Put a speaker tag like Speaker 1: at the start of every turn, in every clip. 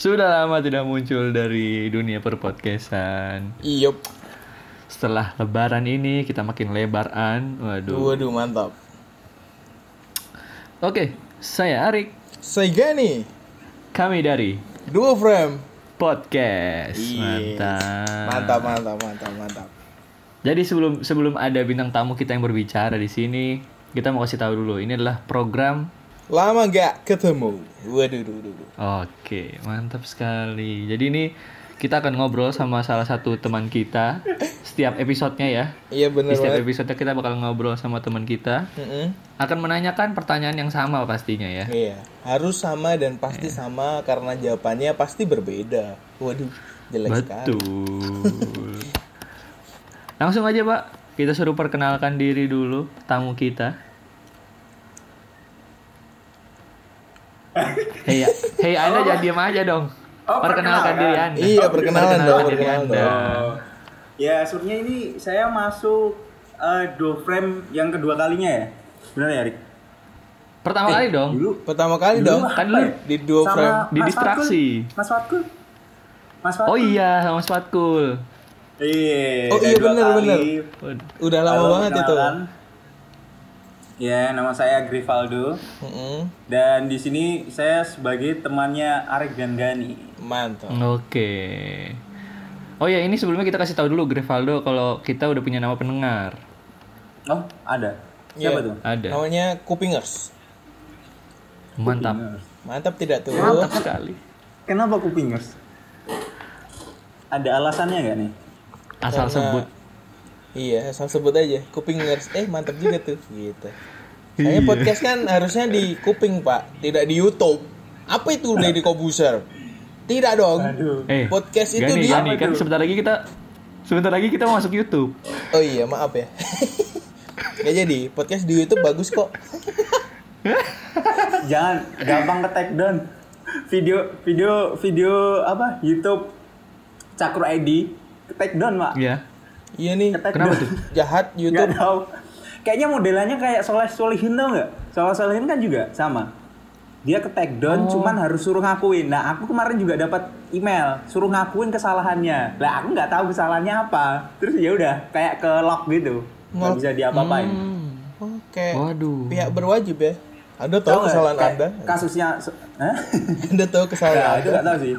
Speaker 1: Sudah lama tidak muncul dari dunia perpodcastan.
Speaker 2: Iyup.
Speaker 1: Setelah lebaran ini kita makin lebaran. Waduh.
Speaker 2: Waduh mantap.
Speaker 1: Oke, saya Arik.
Speaker 2: Saya Gani.
Speaker 1: Kami dari
Speaker 2: Duo frame.
Speaker 1: podcast.
Speaker 2: Yes.
Speaker 1: Mantap.
Speaker 2: Mantap mantap mantap mantap.
Speaker 1: Jadi sebelum sebelum ada bintang tamu kita yang berbicara di sini, kita mau kasih tahu dulu ini adalah program
Speaker 2: Lama nggak ketemu. Waduh duh, duh, duh.
Speaker 1: Oke, mantap sekali. Jadi ini kita akan ngobrol sama salah satu teman kita setiap episodenya ya.
Speaker 2: Iya
Speaker 1: Di
Speaker 2: bener
Speaker 1: setiap
Speaker 2: banget.
Speaker 1: episode kita bakal ngobrol sama teman kita.
Speaker 2: Mm-mm.
Speaker 1: Akan menanyakan pertanyaan yang sama pastinya ya.
Speaker 2: Iya. Harus sama dan pasti sama karena jawabannya pasti berbeda. Waduh jelek sekali.
Speaker 1: Betul. Langsung aja pak, kita suruh perkenalkan diri dulu tamu kita. Hei, hei Anda jangan diam aja dong. perkenalkan, diri Anda.
Speaker 2: Oh, Iya perkenalan dong
Speaker 1: diri
Speaker 2: perkenalan
Speaker 1: Anda.
Speaker 2: dong.
Speaker 3: Ya, sebenarnya ini saya masuk eh, do frame yang kedua kalinya ya. Benar ya, Rik?
Speaker 1: Pertama kali
Speaker 2: Eh.
Speaker 1: dong.
Speaker 3: Dulu ya?
Speaker 2: Pertama kali Oh. Iya dong
Speaker 3: Iya.
Speaker 1: Kan lu
Speaker 2: di duo
Speaker 3: sama
Speaker 2: frame.
Speaker 3: Mas
Speaker 1: Didistraksi.
Speaker 3: Fatkul. Mas Fatkul. Mas Fatkul.
Speaker 1: Oh iya, sama Spatkul.
Speaker 3: Iya,
Speaker 2: Oh
Speaker 3: udah
Speaker 2: iya,
Speaker 3: dua
Speaker 2: bener,
Speaker 3: kali.
Speaker 2: bener.
Speaker 1: Waduh.
Speaker 2: Udah lama
Speaker 3: Halo,
Speaker 2: banget itu.
Speaker 3: perkenalan. Ya, nama saya Grivaldo
Speaker 2: Mm-mm.
Speaker 3: dan di sini saya sebagai temannya Arik dan Gani.
Speaker 2: Mantap.
Speaker 1: Oke. Oh ya, ini sebelumnya kita kasih tahu dulu Grevaldo kalau kita udah punya nama pendengar.
Speaker 3: Oh, ada. Siapa
Speaker 2: Iya.
Speaker 3: tuh?
Speaker 1: Ada.
Speaker 2: Namanya Kupingers.
Speaker 1: Mantap.
Speaker 2: Mantap tidak tuh?
Speaker 1: Mantap sekali.
Speaker 3: Kenapa kupingers? Ada alasannya nggak nih?
Speaker 1: Asal sebut.
Speaker 2: Iya, asal sebut aja. Kuping ngers. Eh, mantap juga tuh. Gitu. Saya
Speaker 1: Iya.
Speaker 2: podcast kan harusnya di kuping, Pak. Tidak di YouTube. Apa itu Deddy Kobuser? Tidak dong.
Speaker 3: Aduh.
Speaker 1: Eh,
Speaker 2: podcast itu
Speaker 1: Gani,
Speaker 2: di-
Speaker 1: Gani,
Speaker 3: apa
Speaker 1: kan
Speaker 3: tuh?
Speaker 1: sebentar lagi kita sebentar lagi kita mau masuk YouTube.
Speaker 2: Oh iya, maaf ya. Gak jadi, podcast di YouTube bagus kok.
Speaker 3: Jangan gampang ke take down. Video video video apa? YouTube Cakur ID ke take down, Pak.
Speaker 1: Ya.
Speaker 2: Iya nih,
Speaker 3: Ke take
Speaker 1: Kenapa
Speaker 3: down.
Speaker 1: tuh?
Speaker 2: jahat
Speaker 3: Nggak
Speaker 2: YouTube.
Speaker 3: tahu. Kayaknya modelannya kayak Soleh Solihin tau nggak? Soleh Solihin kan juga sama. Dia ke take down cuman harus suruh ngakuin. Nah, aku kemarin juga dapat email suruh ngakuin kesalahannya. Lah, aku nggak tahu kesalahannya apa. Terus ya udah kayak ke lock gitu. Nggak
Speaker 2: Ngelock.
Speaker 3: bisa diapa-apain.
Speaker 2: Oke.
Speaker 1: Waduh.
Speaker 2: Eh, Pihak berwajib ya. Anda
Speaker 3: Tahu
Speaker 2: tahu
Speaker 3: nggak
Speaker 2: kesalahan
Speaker 3: kayak
Speaker 2: Anda?
Speaker 3: Kasusnya se- Hah?
Speaker 2: Anda tahu kesalahan
Speaker 3: Nah, itu
Speaker 2: Anda?
Speaker 3: nggak tahu sih.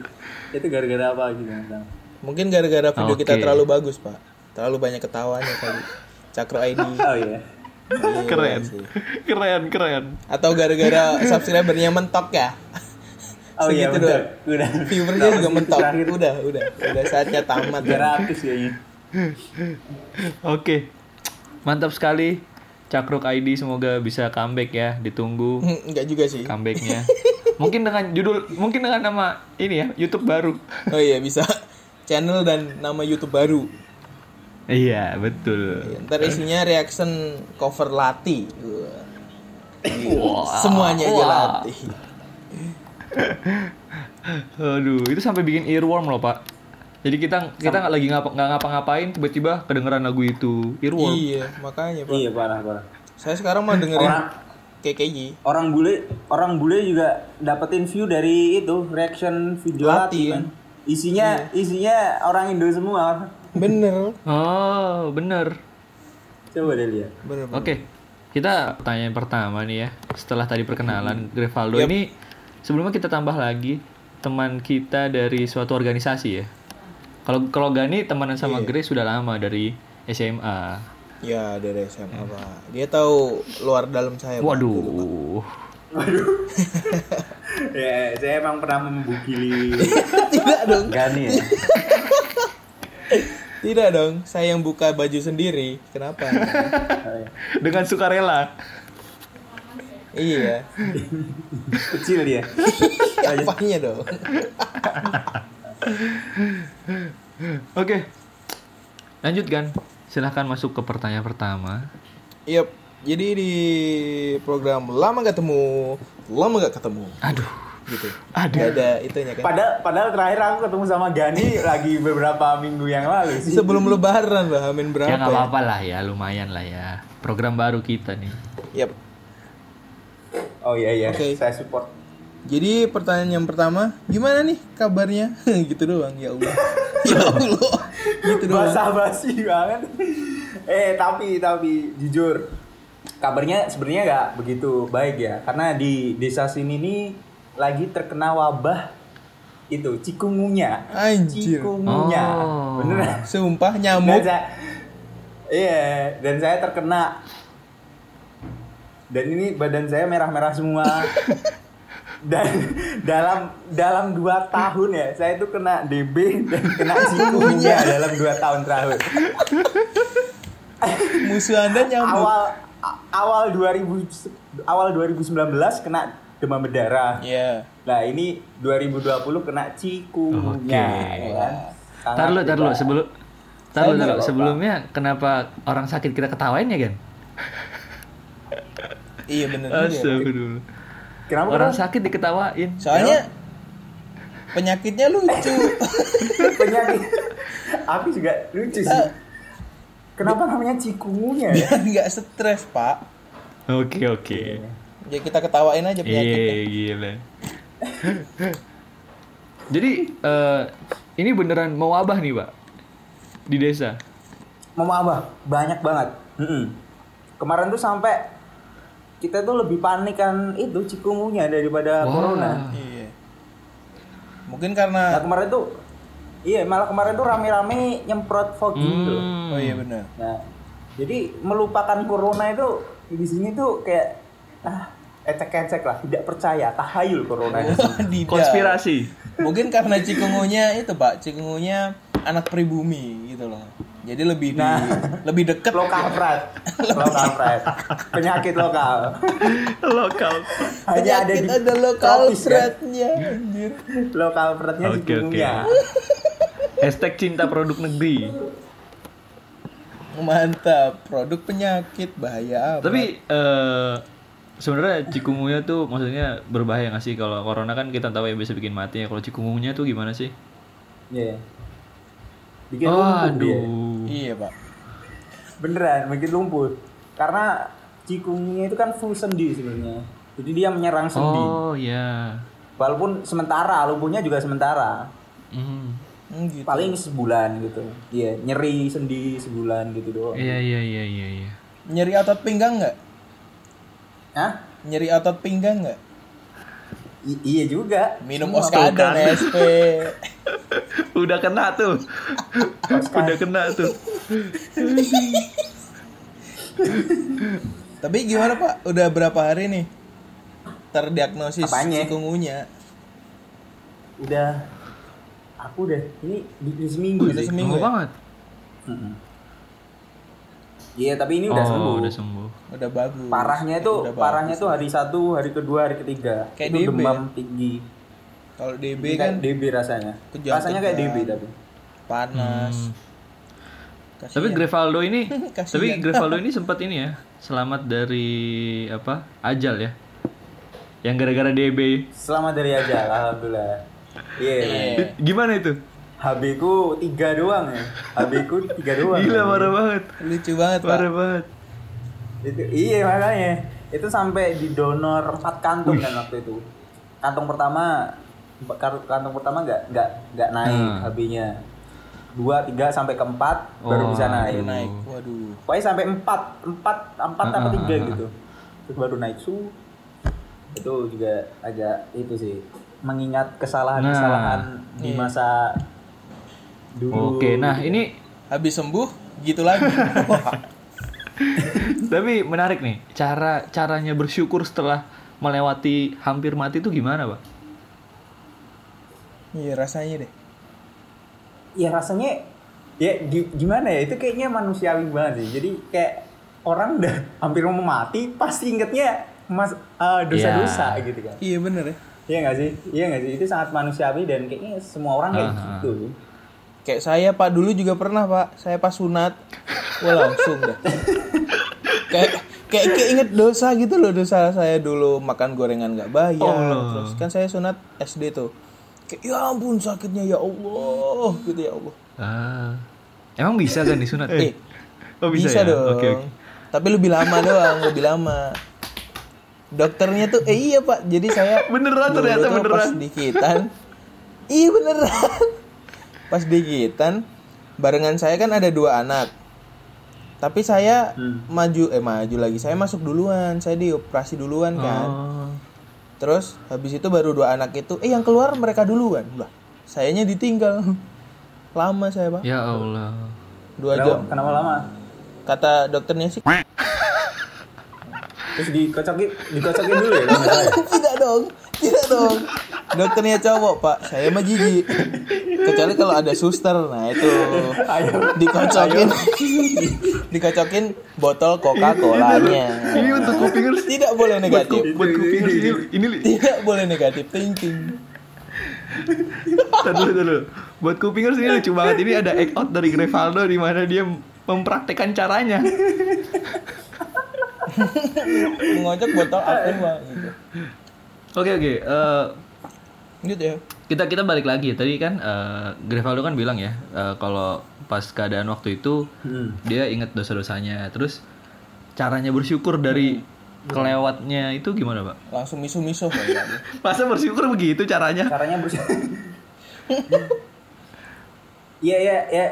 Speaker 3: Itu gara-gara apa gitu nggak tahu.
Speaker 2: Mungkin gara-gara video kita
Speaker 1: Oke.
Speaker 2: terlalu bagus, Pak. Terlalu banyak ketawanya kali. Cakro ID.
Speaker 3: Oh iya.
Speaker 2: Iya
Speaker 1: Keren.
Speaker 2: sih.
Speaker 1: Keren, keren.
Speaker 2: Atau gara-gara subscribernya mentok ya?
Speaker 3: Oh iya
Speaker 2: Segitu
Speaker 3: betul.
Speaker 2: doang.
Speaker 3: Udah.
Speaker 2: Viewernya juga mentok.
Speaker 3: Terakhir
Speaker 2: Udah, udah, udah saatnya tamat. ya.
Speaker 3: 300 kayaknya.
Speaker 1: Oke. Mantap sekali. Cakruk ID semoga bisa comeback ya, ditunggu
Speaker 2: Hmm, Enggak juga sih.
Speaker 1: comebacknya. mungkin dengan judul, mungkin dengan nama ini ya, YouTube baru.
Speaker 2: Oh iya bisa. Channel dan nama YouTube baru.
Speaker 1: Iya, betul.
Speaker 2: Ya, Ntar isinya reaction cover Lati. Wah. Semuanya aja
Speaker 1: Wah.
Speaker 2: Lati.
Speaker 1: Aduh, itu sampai bikin earworm loh pak. Jadi kita kita nggak lagi ngapa nggak ngapa-ngapain tiba-tiba kedengeran lagu itu earworm.
Speaker 2: Iya, makanya Pak.
Speaker 3: Iya parah parah.
Speaker 2: Saya sekarang mau dengerin
Speaker 3: Orang
Speaker 2: KKJ.
Speaker 3: orang bule orang bule juga dapetin view dari itu reaction video
Speaker 2: Lati,
Speaker 3: Lati,
Speaker 2: kan?
Speaker 3: kan. Iya. Isinya isinya orang Indo semua.
Speaker 2: Bener.
Speaker 1: Oh bener.
Speaker 3: Coba deh lihat.
Speaker 2: Bener.
Speaker 1: Oke, kita pertanyaan pertama nih ya. Setelah tadi perkenalan Grevaldo ini sebelumnya kita tambah lagi teman kita dari suatu organisasi ya. Kalau kalau Gani temenan sama Gre sudah lama dari SMA.
Speaker 2: Ya dari SMA Pak. Dia tahu luar dalam saya. Pak.
Speaker 1: Waduh.
Speaker 3: ya, saya emang pernah membugili
Speaker 2: Tidak dong.
Speaker 3: Gani ya.
Speaker 2: Tidak dong. Saya yang buka baju sendiri. Kenapa?
Speaker 3: Oh, iya.
Speaker 1: Dengan sukarela.
Speaker 2: iya.
Speaker 3: Kecil dia.
Speaker 2: Apanya dong?
Speaker 1: Oke. Lanjut Gan. Silahkan masuk ke pertanyaan pertama.
Speaker 2: Yep. Jadi di program lama gak ketemu, lama gak ketemu,
Speaker 1: Aduh.
Speaker 2: gitu.
Speaker 1: Aduh.
Speaker 2: Gak ada itunya kan.
Speaker 3: Padahal padahal terakhir aku ketemu sama Gani lagi beberapa minggu yang lalu sih.
Speaker 2: Sebelum Lebaran lah, amin
Speaker 1: Ya nggak
Speaker 2: berapa?
Speaker 1: apa-apa lah ya, lumayan lah ya. Program baru kita nih.
Speaker 2: Yep.
Speaker 3: Oh iya iya,
Speaker 2: Oke.
Speaker 3: saya support.
Speaker 2: Jadi pertanyaan yang pertama, gimana nih kabarnya? gitu doang, ya Allah. ya Allah. gitu doang.
Speaker 3: basah basi banget eh tapi tapi jujur kabarnya sebenarnya nggak begitu baik ya karena di desa sini nih lagi terkena wabah itu cikungunya
Speaker 2: Anjir.
Speaker 3: cikungunya
Speaker 1: Oh.
Speaker 3: beneran
Speaker 2: Sumpah
Speaker 3: dan
Speaker 2: nyamuk.
Speaker 3: saya- iya dan saya terkena dan ini badan saya merah-merah semua dan dalam dalam dua tahun ya saya itu kena DB dan kena cikungunya dalam dua tahun terakhir
Speaker 2: Musuh Anda nyamuk.
Speaker 3: awal a- awal 2000 se- awal 2019 kena demam berdarah
Speaker 2: Iya.
Speaker 3: nah ini 2020 kena cikungunya
Speaker 1: Oke.
Speaker 3: ya kan? Sangat
Speaker 1: Tar lu, tar lu,
Speaker 3: beda.
Speaker 1: sebelum Tar lu, tar
Speaker 3: Saya
Speaker 1: lu.
Speaker 3: nggak apa-apa.
Speaker 1: Sebelumnya kenapa orang sakit kita ketawain ya, Gan?
Speaker 2: Iya bener juga.
Speaker 1: Astagfirullah.
Speaker 3: kenapa
Speaker 1: Orang
Speaker 3: kenapa?
Speaker 1: sakit diketawain.
Speaker 2: Soalnya penyakitnya lucu.
Speaker 3: penyanyi aku juga lucu sih kenapa namanya cikungunya ya?
Speaker 2: Biar nggak stres, Pak.
Speaker 1: Oke, oke.
Speaker 2: Ya kita ketawain aja penyakitnya.
Speaker 1: Iya, gila. Jadi eh, ini beneran mewabah nih, Pak. Di desa.
Speaker 3: mama abah banyak banget Mm-mm. kemarin tuh sampai kita tuh lebih panik kan itu cikungunya
Speaker 1: Wah.
Speaker 3: daripada Ya, corona
Speaker 2: Iya. Mungkin
Speaker 3: nah
Speaker 2: karena
Speaker 3: kemarin tuh iya malah kemarin tuh rame-rame nyemprot fogging tuh
Speaker 1: Hmm.
Speaker 2: Oh iya benar.
Speaker 3: nah jadi melupakan corona itu di sini tuh kayak ah ecek-ecek lah tidak percaya tahayul corona itu
Speaker 2: Wadidaw.
Speaker 1: Konspirasi.
Speaker 2: Mungkin karena cikungunya itu pak, cikungunya anak pribumi gitu loh. Jadi lebih di,
Speaker 3: Nah.
Speaker 2: lebih deket.
Speaker 3: lokal pride lokal pride penyakit lokal
Speaker 1: Lokal.
Speaker 3: hanya ada di
Speaker 2: Penyakit ada lokal
Speaker 3: tropis, kan?
Speaker 2: threadnya. Anjir.
Speaker 3: lokal pride-nya di
Speaker 1: Oke, oke.
Speaker 3: dunia
Speaker 1: Hashtag cinta produk negeri.
Speaker 2: Mantap. Produk penyakit bahaya apa?
Speaker 1: Tapi eh sebenarnya cikungunya tuh maksudnya berbahaya nggak sih kalau corona kan kita tahu yang bisa bikin mati ya. Kalau cikungunya tuh gimana sih?
Speaker 3: Iya. bikin lumpuh dia.
Speaker 1: Aduh.
Speaker 2: Iya pak.
Speaker 3: beneran bikin lumpuh karena cikungnya itu kan full sendi sebenarnya jadi dia menyerang sendi
Speaker 1: Oh ya.
Speaker 3: walaupun sementara lumpuhnya juga sementara
Speaker 1: Hmm.
Speaker 2: Hmm, gitu.
Speaker 3: paling sebulan gitu iya nyeri sendi sebulan gitu doang
Speaker 1: Iya iya iya iya iya.
Speaker 2: Nyeri otot pinggang nggak?
Speaker 3: Hah?
Speaker 2: Nyeri otot pinggang nggak?
Speaker 3: I- iya juga
Speaker 2: Minum
Speaker 3: Semua.
Speaker 2: oskadon SP.
Speaker 1: Udah kena tuh. Udah kena tuh.
Speaker 2: Tapi gimana pak? Udah berapa hari nih terdiagnosis
Speaker 3: Apanya?
Speaker 2: cikungunya?
Speaker 3: udah aku udah ini di- di seminggu
Speaker 2: Udah
Speaker 3: sih
Speaker 2: seminggu.
Speaker 1: Lama
Speaker 2: ya?
Speaker 1: banget.
Speaker 3: Mm-mm. Iya, tapi ini udah
Speaker 1: oh,
Speaker 3: sembuh.
Speaker 1: udah sembuh.
Speaker 2: Udah bagus.
Speaker 3: Parahnya itu,
Speaker 2: Udah bagus.
Speaker 3: parahnya itu hari satu, hari kedua, hari ketiga.
Speaker 2: Kayak
Speaker 3: itu
Speaker 2: DB.
Speaker 3: demam tinggi.
Speaker 2: Kalau DB
Speaker 3: Kayak
Speaker 2: kan
Speaker 3: DB rasanya.
Speaker 2: kejang-kejang.
Speaker 3: Rasanya kayak DB tapi.
Speaker 2: panas.
Speaker 1: Hmm. Tapi
Speaker 2: Kasihan.
Speaker 1: Grevaldo ini,
Speaker 2: Kasihan.
Speaker 1: tapi Grevaldo ini sempat ini ya, selamat dari apa? Ajal ya. Yang gara-gara DB.
Speaker 3: Selamat dari aja, alhamdulillah. Iya.
Speaker 2: Iya.
Speaker 1: Di- Gimana itu?
Speaker 3: HB ku tiga doang ya. HB ku tiga doang.
Speaker 1: Gila marah banget.
Speaker 2: lucu banget pak.
Speaker 1: Parah banget.
Speaker 3: Itu iya makanya. Itu sampai di donor empat kantung kan waktu itu. Kantung pertama kar- kantung pertama nggak nggak nggak naik
Speaker 1: Hmm.
Speaker 3: HB-nya. Dua, tiga sampai keempat baru
Speaker 1: Oh,
Speaker 3: bisa naik.
Speaker 2: Baru naik. Waduh.
Speaker 3: Pokoknya sampai empat, empat, empat
Speaker 1: Ah,
Speaker 3: apa
Speaker 1: ah,
Speaker 3: tiga
Speaker 1: ah,
Speaker 3: gitu. Terus baru naik su. Itu juga agak itu sih mengingat kesalahan-kesalahan di
Speaker 2: Iya.
Speaker 3: masa dulu.
Speaker 1: Oke, nah ini
Speaker 2: Habis sembuh gitu lagi. Wah,
Speaker 1: tapi menarik nih. Cara caranya bersyukur setelah melewati hampir mati itu gimana, Pak?
Speaker 2: Iya rasanya deh.
Speaker 3: ya rasanya ya gi- gimana ya itu kayaknya manusiawi banget sih. Jadi kayak orang udah hampir mau mati pasti ingetnya mas eh, dosa-dosa gitu kan.
Speaker 2: Iya bener ya.
Speaker 3: Iya nggak sih? Iya nggak sih? Itu sangat manusiawi dan kayaknya semua orang kayak
Speaker 1: Ah, ah.
Speaker 3: gitu.
Speaker 2: Kayak saya pak dulu juga pernah pak. Saya pas sunat. Wah langsung deh. kayak kayak keinget dosa gitu loh dosa saya dulu makan gorengan nggak bayar.
Speaker 1: Allah.
Speaker 2: Terus kan saya sunat SD tuh. Kayak ya ampun sakitnya ya Allah gitu ya Allah.
Speaker 1: Ah. Emang bisa kan disunat?
Speaker 2: Eh,
Speaker 1: oh bisa,
Speaker 2: bisa,
Speaker 1: ya?
Speaker 2: dong.
Speaker 1: Oke, oke.
Speaker 2: Tapi lebih lama doang, lebih lama. dokternya tuh eh iya pak jadi saya
Speaker 1: Beneran
Speaker 2: dulu
Speaker 1: ternyata,
Speaker 2: tuh
Speaker 1: beneran.
Speaker 2: pas dikitan iya beneran pas dikitan barengan saya kan ada dua anak tapi saya
Speaker 1: Hmm.
Speaker 2: maju eh maju lagi saya masuk duluan saya dioperasi duluan kan
Speaker 1: Oh.
Speaker 2: terus habis itu baru dua anak itu eh yang keluar mereka duluan lah sayanya ditinggal lama saya pak
Speaker 1: Ya Allah.
Speaker 2: dua jam
Speaker 3: Kenapa, kenapa lama?
Speaker 2: kata dokternya sih
Speaker 3: Terus dikocokin, dikocokin dulu ya. kalau nggak salah ya?
Speaker 2: tidak dong tidak dong dokternya cowok pak saya mah jijik kecuali kalau ada suster nah itu
Speaker 3: Ayo.
Speaker 2: dikocokin dikocokin botol coca colanya
Speaker 1: Ini untuk kupingers.
Speaker 2: tidak boleh negatif
Speaker 1: Buat kupingers ini, ini
Speaker 2: tidak boleh negatif thinking
Speaker 1: Tadi dulu, tadi dulu. Buat kupingers ini lucu banget. Ini ada act out dari Grevaldo di mana dia mempraktekkan caranya.
Speaker 2: ngocok botol aqua gitu
Speaker 1: Oke oke. eh,
Speaker 2: gitu ya
Speaker 1: kita kita balik lagi. Tadi kan eh, Grevaldo kan bilang ya eh, kalau pas keadaan waktu itu
Speaker 3: Hmm.
Speaker 1: dia ingat dosa-dosanya. Terus caranya bersyukur dari kelewatnya itu gimana pak?
Speaker 2: langsung misu misu
Speaker 1: Masa bersyukur begitu caranya?
Speaker 3: Caranya bers. Iya iya iya.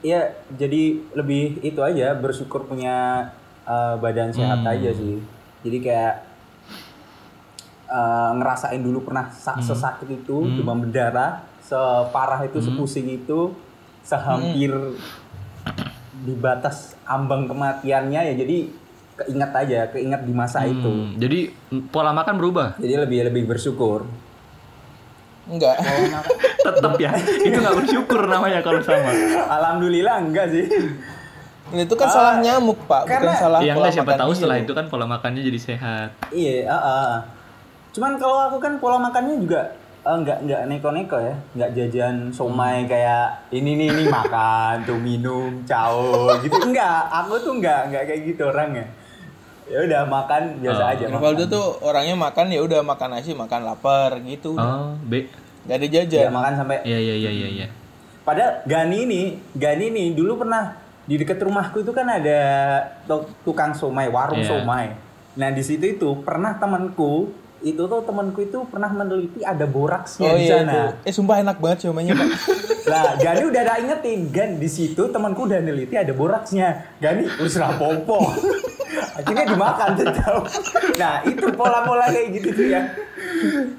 Speaker 3: Iya, jadi lebih itu aja bersyukur punya eh, badan sehat aja sih. Jadi kayak eh, ngerasain dulu pernah sa- sesakit itu, demam berdarah, separah itu, sepusing itu, sehampir di batas ambang kematiannya ya. Jadi keinget aja, keinget di masa itu.
Speaker 1: Hmm, jadi mm, pola makan berubah.
Speaker 3: Jadi lebih lebih bersyukur.
Speaker 2: enggak
Speaker 1: Tetap ya. Itu nggak bersyukur namanya kalau sama.
Speaker 3: Alhamdulillah enggak sih.
Speaker 2: Nah, itu kan salah nyamuk pak bukan
Speaker 3: Karena-
Speaker 2: salah
Speaker 1: Ya
Speaker 2: pola
Speaker 1: enggak siapa
Speaker 2: makan
Speaker 1: tahu
Speaker 2: dia.
Speaker 1: setelah itu kan pola makannya jadi sehat.
Speaker 3: Iya, heeh. Cuman kalau aku kan pola makannya juga eh, enggak enggak neko-neko ya. Enggak jajan somai kayak ini nih ini makan, tuh minum, cao gitu. Enggak, aku tuh enggak enggak kayak gitu orangnya. Ya udah makan biasa aja. makan.
Speaker 2: Rivaldo tuh orangnya makan ya udah makan nasi makan lapar gitu
Speaker 1: Oh, B.
Speaker 2: Gak ada
Speaker 3: Ya
Speaker 2: jajan.
Speaker 3: makan sampai
Speaker 1: Iya iya iya iya iya.
Speaker 3: Padahal Gani ini, Gani ini dulu pernah di dekat rumahku itu kan ada to- tukang somai, warung
Speaker 1: Iya.
Speaker 3: somai. Nah di situ itu pernah temanku itu tuh temanku itu pernah meneliti ada
Speaker 2: oh
Speaker 3: boraksnya di
Speaker 2: iya.
Speaker 3: sana.
Speaker 2: itu. Eh sumpah enak banget siomanya, Pak.
Speaker 3: Nah, Gani udah ada ingetin, Gan di situ temanku udah neliti ada boraksnya. Gani wis ra popo. Akhirnya dimakan tetap. Nah, itu pola-pola kayak gitu tuh ya.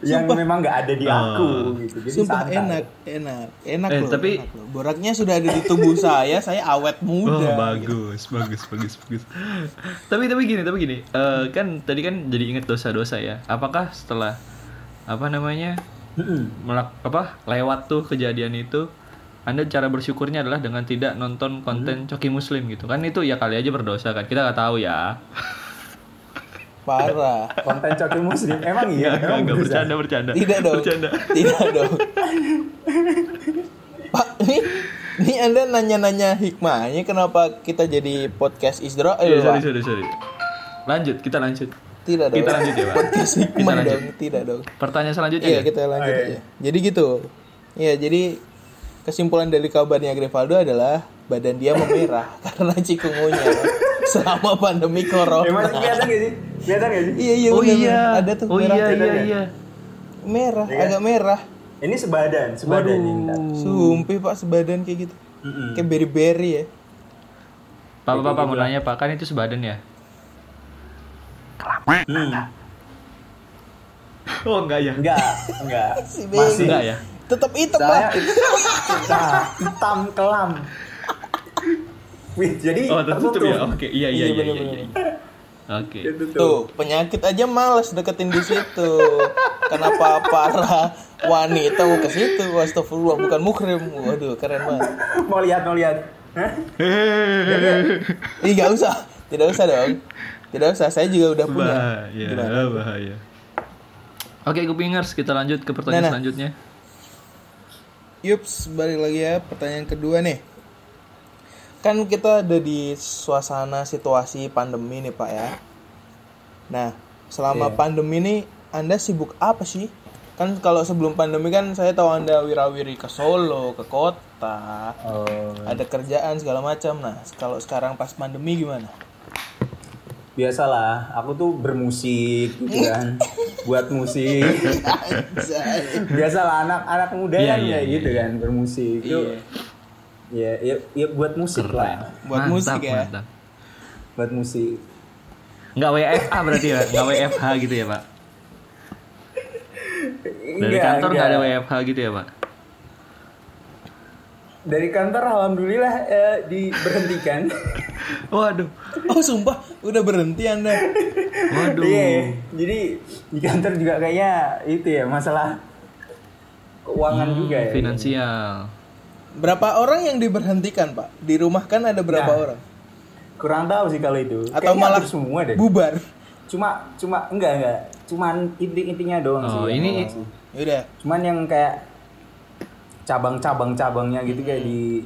Speaker 3: Yang memang nggak ada di aku gitu. Jadi
Speaker 2: Sumpah
Speaker 3: santai.
Speaker 2: enak, enak, enak
Speaker 1: Eh,
Speaker 2: loh.
Speaker 1: tapi-
Speaker 2: enak loh. boraknya sudah ada di tubuh saya, saya awet
Speaker 1: Oh,
Speaker 2: muda.
Speaker 1: bagus, bagus, bagus, bagus. tapi tapi gini, tapi gini. Eh, kan tadi kan jadi inget dosa-dosa ya. Apakah setelah apa namanya?
Speaker 3: Mm-mm.
Speaker 1: melak apa lewat tuh kejadian itu anda cara bersyukurnya adalah dengan tidak nonton konten
Speaker 2: Hmm.
Speaker 1: coki muslim gitu kan itu ya kali aja berdosa kan kita nggak tahu ya
Speaker 2: Parah.
Speaker 3: konten coki muslim emang iya
Speaker 1: nggak
Speaker 3: emang
Speaker 1: nggak
Speaker 3: bisa.
Speaker 1: bercanda bercanda
Speaker 2: Ya, Tidak dong.
Speaker 1: bercanda
Speaker 2: Tidak dong. Pak, ini ini Anda nanya-nanya hikmahnya kenapa kita jadi podcast Isdra?
Speaker 1: Iya,
Speaker 2: Eh,
Speaker 1: sorry
Speaker 2: Pak.
Speaker 1: sorry sorry lanjut kita lanjut
Speaker 2: Tidak dong.
Speaker 1: Kita lanjut ya, Pak.
Speaker 2: Podcast
Speaker 1: Kita
Speaker 2: hikmah
Speaker 1: lanjut.
Speaker 2: dong, tidak dong.
Speaker 1: pertanyaan selanjutnya
Speaker 2: Iya
Speaker 1: ya?
Speaker 2: kita lanjut
Speaker 3: Oke.
Speaker 2: aja. Jadi gitu. Iya jadi kesimpulan dari kabarnya Grevaldo adalah badan dia memerah karena cikungunya selama pandemi
Speaker 3: emang
Speaker 2: corona.
Speaker 3: kelihatan gak sih kelihatan gak sih
Speaker 2: Iya iya
Speaker 1: oh
Speaker 2: bener,
Speaker 1: iya
Speaker 2: bener. ada tuh
Speaker 1: oh
Speaker 2: merah
Speaker 1: iya
Speaker 2: tuh.
Speaker 1: iya
Speaker 3: merah.
Speaker 1: iya
Speaker 2: merah
Speaker 3: Iya.
Speaker 2: agak merah.
Speaker 3: ini sebadan sebadan ini Ntar.
Speaker 1: Hmm.
Speaker 2: Sumpih pak sebadan kayak gitu.
Speaker 3: Mm-mm.
Speaker 2: Kayak berry-berry ya.
Speaker 1: pak pak pak mau nanya pak kan itu sebadan ya
Speaker 3: Hmm.
Speaker 1: oh enggak ya
Speaker 3: enggak enggak
Speaker 2: Si Beng.
Speaker 3: masih
Speaker 1: enggak ya
Speaker 2: Tetap hitam
Speaker 3: saya
Speaker 2: pak.
Speaker 3: nah, hitam kelam Wih, jadi
Speaker 1: oh tertutup ya oke iya iya iya
Speaker 2: Iya,
Speaker 1: iya,
Speaker 2: bener-bener.
Speaker 1: iya oke
Speaker 3: Tertutup.
Speaker 2: Tuh penyakit aja males deketin di situ. Kenapa para wanita mau ke situ? Astagfirullah bukan muhrim. Waduh keren banget.
Speaker 3: mau lihat mau lihat Hah?
Speaker 2: Ih, nggak usah. Tidak usah dong. Tidak usah. Saya juga udah punya.
Speaker 1: bahaya
Speaker 2: Gimana?
Speaker 1: bahaya oke kupingers kita lanjut ke pertanyaan
Speaker 2: Nah, nah.
Speaker 1: selanjutnya
Speaker 2: Yups, balik lagi ya pertanyaan kedua nih. Kan kita ada di suasana situasi pandemi nih, Pak ya. Nah, selama pandemi ini Anda sibuk apa sih? Kan kalau sebelum pandemi kan saya tahu Anda wirawiri ke Solo, ke kota,
Speaker 3: Oh,
Speaker 2: ada kerjaan segala macam. Nah, kalau sekarang pas pandemi gimana?
Speaker 3: biasalah aku tuh bermusik gitu kan buat musik
Speaker 2: Anjay.
Speaker 3: biasalah anak-anak muda
Speaker 1: Iya,
Speaker 3: kan
Speaker 1: iya,
Speaker 3: kayak
Speaker 1: iya,
Speaker 3: gitu kan bermusik Yuk. ya ya ya buat musik lah
Speaker 1: mantap,
Speaker 2: Buat musik ya.
Speaker 1: Mantap.
Speaker 3: buat musik
Speaker 1: Nggak WFH berarti ya, nggak WFH gitu ya pak. Dari
Speaker 3: Enggak,
Speaker 1: kantor nggak
Speaker 3: enggak.
Speaker 1: ada WFH gitu ya pak.
Speaker 3: dari kantor alhamdulillah eh, diberhentikan
Speaker 1: Waduh,
Speaker 2: Oh sumpah, udah berhenti anda.
Speaker 1: waduh.
Speaker 3: Iya, jadi di kantor juga kayaknya itu ya masalah keuangan
Speaker 1: Hmm,
Speaker 3: juga ya
Speaker 1: Finansial.
Speaker 2: Berapa orang yang diberhentikan pak? Di rumah kan ada berapa
Speaker 3: Nah,
Speaker 2: orang?
Speaker 3: kurang tahu sih kalau itu
Speaker 2: Atau
Speaker 3: Kayaknya
Speaker 2: malah
Speaker 3: hampir semua deh
Speaker 2: bubar?
Speaker 3: cuma cuma enggak enggak cuman inti-intinya doang sih
Speaker 1: Oh,
Speaker 3: yang
Speaker 1: ini-
Speaker 3: orang sih.
Speaker 2: Yaudah.
Speaker 3: cuman yang kayak cabang-cabang-cabangnya gitu kayak di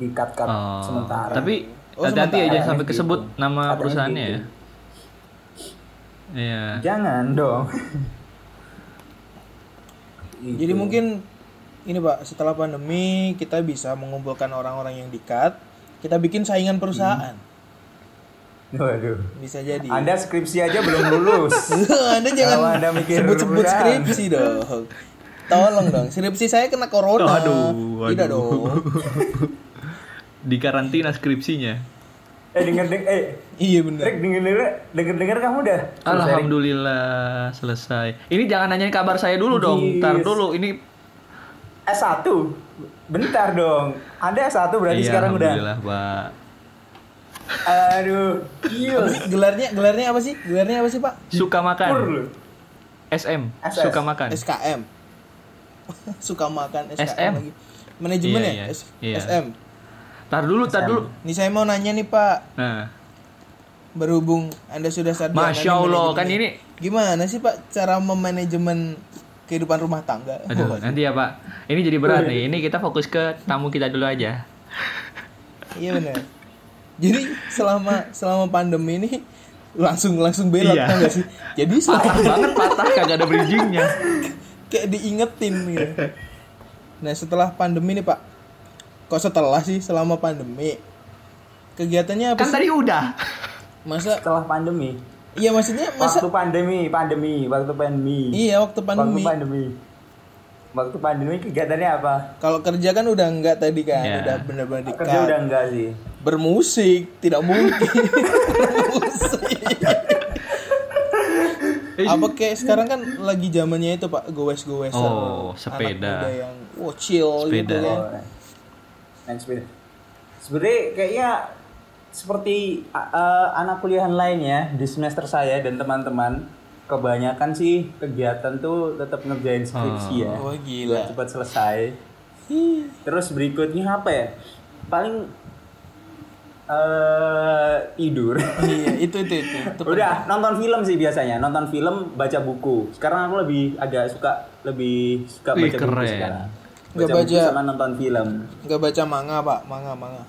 Speaker 3: di cut cut
Speaker 1: Oh,
Speaker 3: sementara
Speaker 1: Tapi
Speaker 2: Oh,
Speaker 1: hati-hati
Speaker 3: sementara
Speaker 1: aja
Speaker 3: yang
Speaker 1: sampai
Speaker 3: gitu.
Speaker 1: kesebut nama
Speaker 3: Ada yang
Speaker 1: perusahaannya
Speaker 3: gitu.
Speaker 1: ya. Iya.
Speaker 3: jangan dong Gitu.
Speaker 2: Jadi mungkin ini pak, setelah pandemi kita bisa mengumpulkan orang-orang yang dikat, kita bikin saingan perusahaan.
Speaker 3: Hmm. waduh
Speaker 2: Bisa jadi.
Speaker 3: anda skripsi aja belum lulus
Speaker 2: anda
Speaker 3: Kalau
Speaker 2: jangan
Speaker 3: Anda mikir
Speaker 2: sebut-sebut
Speaker 3: perusahaan.
Speaker 2: skripsi dong. Tolong dong, skripsi saya kena corona.
Speaker 1: Aduh, aduh.
Speaker 2: Tidak dong.
Speaker 1: Di karantina skripsinya.
Speaker 3: eh denger denger eh
Speaker 2: Iya bener.
Speaker 3: Rick denger denger denger denger kamu udah
Speaker 1: Alhamdulillah selesai. Ini jangan nanyain kabar saya dulu dong. Ntar dulu ini
Speaker 3: S1 Eh, bentar dong anda S1 berarti
Speaker 1: Iya,
Speaker 3: sekarang udah
Speaker 1: alhamdulillah, Pak.
Speaker 3: aduh gila
Speaker 2: Gelarnya gelarnya apa sih? Gelarnya apa sih pak?
Speaker 1: Suka makan.
Speaker 3: Pur lu.
Speaker 1: SM,
Speaker 3: SS.
Speaker 1: suka makan.
Speaker 2: SKM. Suka makan SKM
Speaker 1: SM.
Speaker 2: lagi. Manajemen
Speaker 1: Iya,
Speaker 2: ya?
Speaker 1: iya.
Speaker 2: S-
Speaker 1: Iya.
Speaker 2: SM.
Speaker 1: Tar dulu, tar dulu.
Speaker 2: Nih saya mau nanya nih pak,
Speaker 1: Nah,
Speaker 2: berhubung anda sudah sarjana.
Speaker 1: Masya
Speaker 2: nih
Speaker 1: Allah,
Speaker 2: manajemen.
Speaker 1: kan ini
Speaker 2: Gimana sih pak cara memanajemen kehidupan rumah tangga?
Speaker 3: Oh,
Speaker 1: Aduh, nanti ya Pak. Ini jadi berat
Speaker 3: iya.
Speaker 1: nih. Ini kita fokus ke tamu kita dulu aja.
Speaker 2: Iya benar. Jadi selama selama pandemi ini langsung langsung belok
Speaker 1: Iya.
Speaker 2: tau gak sih? Jadi
Speaker 1: Patah
Speaker 2: selama
Speaker 1: banget, patah kagak ada bridgingnya.
Speaker 2: kayak diingetin gitu. Nah setelah pandemi nih pak, kok setelah sih selama pandemi kegiatannya apa
Speaker 1: Kan
Speaker 2: sih?
Speaker 1: tadi udah.
Speaker 2: Masa
Speaker 3: setelah pandemi
Speaker 2: iya maksudnya masa
Speaker 3: waktu pandemi pandemi waktu pandemi
Speaker 2: iya waktu
Speaker 3: waktu
Speaker 2: pandemi.
Speaker 3: pandemi waktu pandemi kegiatannya apa
Speaker 2: Kalau kerja kan udah enggak tadi kan,
Speaker 1: Iya.
Speaker 2: udah bener-bener di
Speaker 3: kerja udah enggak sih
Speaker 2: Bermusik tidak mungkin. Bermusik. Apa kayak sekarang kan lagi zamannya itu Pak, gowes-gowesan.
Speaker 1: Oh,
Speaker 2: Anak
Speaker 1: sepeda.
Speaker 2: muda yang wow, chill gitu
Speaker 1: Sepeda.
Speaker 2: kan.
Speaker 3: Oh, naik sepeda sebenarnya kayaknya seperti a- eh, anak kuliahan lainnya di semester saya dan teman-teman kebanyakan sih kegiatan tuh tetap ngerjain skripsi ya
Speaker 1: Hmm.
Speaker 2: Wah, Oh, gila.
Speaker 3: cepat selesai terus berikutnya apa ya paling eh tidur
Speaker 2: iya, itu itu itu. itu.
Speaker 3: Udah nonton film sih biasanya, nonton film, baca buku. Sekarang aku lebih agak suka lebih suka
Speaker 1: Wih,
Speaker 3: baca
Speaker 1: keren.
Speaker 3: buku sekarang. Baca,
Speaker 2: Nggak
Speaker 3: buku
Speaker 2: baca.
Speaker 3: sama nonton film.
Speaker 2: Enggak baca manga, Pak. Manga, manga.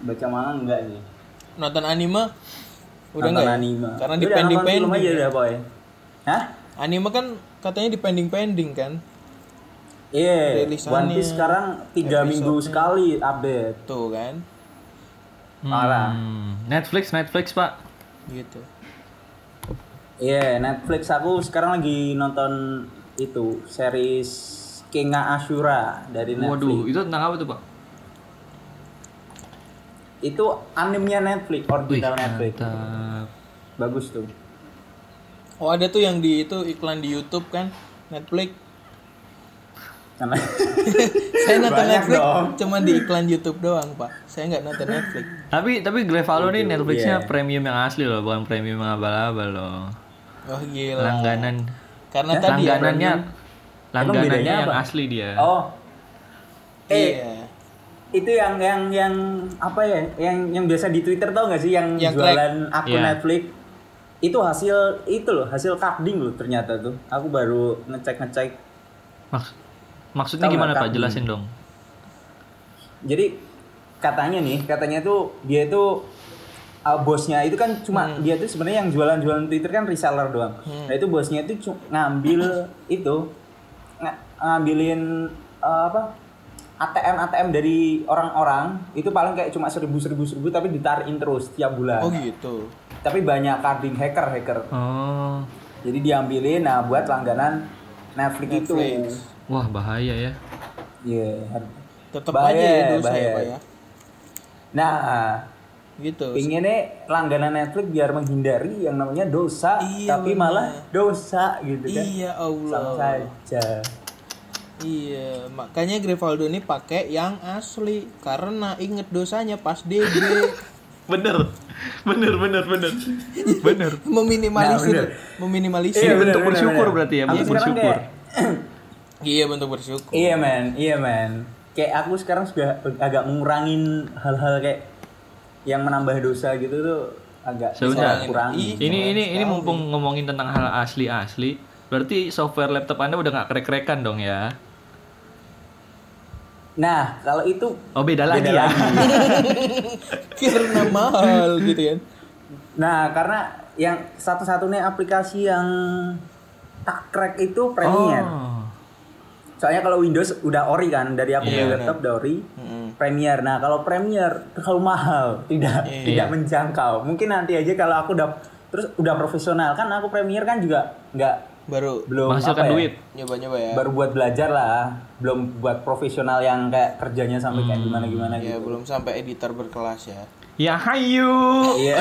Speaker 3: Baca manga enggak nih?
Speaker 2: Nonton anime udah
Speaker 3: nonton
Speaker 2: enggak? ya?
Speaker 3: anime.
Speaker 2: Karena
Speaker 3: Udah, nonton film
Speaker 2: dipending-pending. ya.
Speaker 3: aja udah, boy. Hah?
Speaker 2: Anime kan katanya dipending-pending kan.
Speaker 3: Iya,
Speaker 2: Rilisannya,
Speaker 3: One Piece sekarang tiga minggu sekali update.
Speaker 2: Tuh kan.
Speaker 3: Parah.
Speaker 1: Hmm, Netflix, Netflix Pak.
Speaker 2: Gitu.
Speaker 3: Iya, Netflix aku sekarang lagi nonton itu series Kinga Ashura dari Netflix.
Speaker 1: Waduh, itu tentang apa tuh Pak?
Speaker 3: Itu animnya Netflix,
Speaker 1: Wih,
Speaker 3: original Netflix.
Speaker 1: mantap.
Speaker 3: Bagus tuh.
Speaker 2: Oh, ada tuh yang di itu iklan di YouTube kan, Netflix.
Speaker 3: Karena
Speaker 2: Iya. Saya nonton
Speaker 3: Banyak
Speaker 2: Netflix
Speaker 3: dong.
Speaker 2: cuma di iklan YouTube doang, Pak. Saya nggak nonton Netflix.
Speaker 1: Tapi tapi Grevalo nih
Speaker 3: iya.
Speaker 1: Netflixnya premium yang asli loh, bukan premium yang abal-abal loh.
Speaker 2: Oh, gila.
Speaker 1: Nah, Langganan,
Speaker 3: Nah,
Speaker 2: Karena tadi ya,
Speaker 1: langganannya, langganannya
Speaker 3: bedanya
Speaker 1: yang
Speaker 3: apa?
Speaker 1: asli dia.
Speaker 3: oh eh
Speaker 2: iya.
Speaker 3: itu yang yang yang apa ya yang yang biasa di Twitter tau gak sih yang,
Speaker 2: Yang
Speaker 3: jualan akun
Speaker 1: Iya.
Speaker 3: Netflix itu hasil itu loh hasil carding loh ternyata tuh aku baru ngecek ngecek
Speaker 1: Maks- maksudnya
Speaker 3: Tahu
Speaker 1: gimana
Speaker 3: nggak,
Speaker 1: Pak?
Speaker 3: Kak?
Speaker 1: Jelasin dong.
Speaker 3: jadi katanya nih katanya tuh dia itu uh, bosnya itu kan cuma dia tuh sebenarnya yang jualan-jualan Twitter kan reseller doang. Nah itu bosnya itu cu- ngambil itu nga- ngambilin uh, apa ATM ATM dari orang-orang itu paling kayak cuma seribu seribu seribu tapi ditarikin terus tiap bulan.
Speaker 2: Oh gitu.
Speaker 3: Tapi banyak carding hacker hacker.
Speaker 1: Oh,
Speaker 3: Jadi diambilin nah buat langganan Netflix, itu.
Speaker 2: Netflix.
Speaker 1: wah bahaya ya.
Speaker 3: Iya. har-
Speaker 2: Tetap
Speaker 3: Bahaya,
Speaker 2: aja ya dosa ya
Speaker 3: bahaya.
Speaker 2: pak ya.
Speaker 3: Nah,
Speaker 2: Gitu.
Speaker 3: pinginnya langganan Netflix biar menghindari yang namanya dosa,
Speaker 2: Iya,
Speaker 3: tapi
Speaker 2: benar.
Speaker 3: malah dosa gitu kan.
Speaker 2: Iya
Speaker 3: Sama
Speaker 2: Allah.
Speaker 3: saja.
Speaker 2: Iya, makanya Grivaldo ini pakai yang asli karena inget dosanya pas DG
Speaker 1: Bener, bener, bener, bener, bener.
Speaker 3: Nah, bener.
Speaker 2: meminimalisir, meminimalisir.
Speaker 1: Iya,
Speaker 3: bener,
Speaker 1: bentuk
Speaker 3: bener,
Speaker 1: bersyukur
Speaker 3: bener.
Speaker 1: berarti ya,
Speaker 3: Aku
Speaker 1: bentuk
Speaker 3: sekarang
Speaker 1: bersyukur.
Speaker 3: kayak-
Speaker 2: Iya bentuk bersyukur.
Speaker 3: Iya men, iya men. Kayak aku sekarang sudah agak mengurangin hal-hal kayak yang menambah dosa gitu tuh agak
Speaker 1: Sebentar.
Speaker 2: Iya.
Speaker 3: kurangin.
Speaker 1: Ini ini ini mumpung ngomongin tentang hal asli-asli, berarti software laptop Anda udah nggak krek-krekan dong ya?
Speaker 3: Nah, kalau itu
Speaker 1: Oh beda lagi
Speaker 3: Beda
Speaker 1: ya.
Speaker 2: karena mahal gitu kan.
Speaker 3: Nah, karena yang satu-satunya aplikasi yang tak crack itu Premiere.
Speaker 1: Oh.
Speaker 3: Soalnya kalau Windows udah ori kan, dari
Speaker 1: Iya,
Speaker 3: aku punya laptop udah ori. Premiere. Nah, kalau Premiere terlalu mahal, tidak
Speaker 1: Iya.
Speaker 3: tidak menjangkau. Mungkin nanti aja kalau aku udah terus udah profesional kan aku Premiere kan juga nggak
Speaker 2: Baru
Speaker 3: belum
Speaker 1: Menghasilkan
Speaker 3: apa ya,
Speaker 1: duit.
Speaker 2: nyoba-nyoba ya.
Speaker 3: Baru buat belajar lah, belum buat profesional yang kayak kerjanya sampai
Speaker 1: Hmm,
Speaker 3: kayak gimana-gimana
Speaker 1: iya.
Speaker 2: Ya
Speaker 3: gitu.
Speaker 2: belum sampai editor berkelas ya.
Speaker 1: Ya hayu.
Speaker 3: Iya.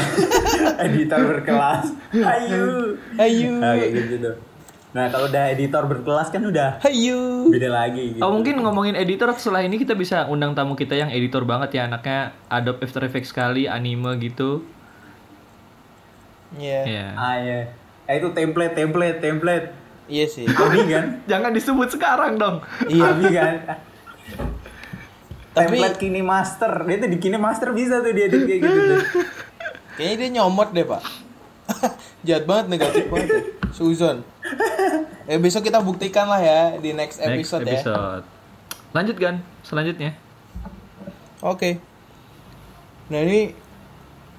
Speaker 3: editor berkelas. Ayo.
Speaker 2: Ayo,
Speaker 3: Nah, kayak gitu tuh. Nah, kalau udah editor berkelas kan udah
Speaker 2: ayo.
Speaker 3: beda lagi gitu.
Speaker 1: Oh mungkin ngomongin editor setelah ini kita bisa undang tamu kita yang editor banget ya anaknya Adobe After Effects sekali anime gitu.
Speaker 2: Iya,
Speaker 1: Ya.
Speaker 3: Ah, iya. Eh, itu template, template, template.
Speaker 2: iya sih.
Speaker 3: Abi kan?
Speaker 1: Jangan disebut sekarang dong.
Speaker 3: Iya, Abi kan?
Speaker 2: Tapi-
Speaker 3: template kini master. Dia tuh di kini master bisa tuh dia edit kayak gitu tuh.
Speaker 2: Kayaknya dia nyomot deh pak. Jahat banget negatif banget. ya. Susan. Eh besok kita buktikan lah ya di next
Speaker 1: Next
Speaker 2: episode, ya.
Speaker 1: episode. Lanjut kan selanjutnya.
Speaker 2: Oke. Nah ini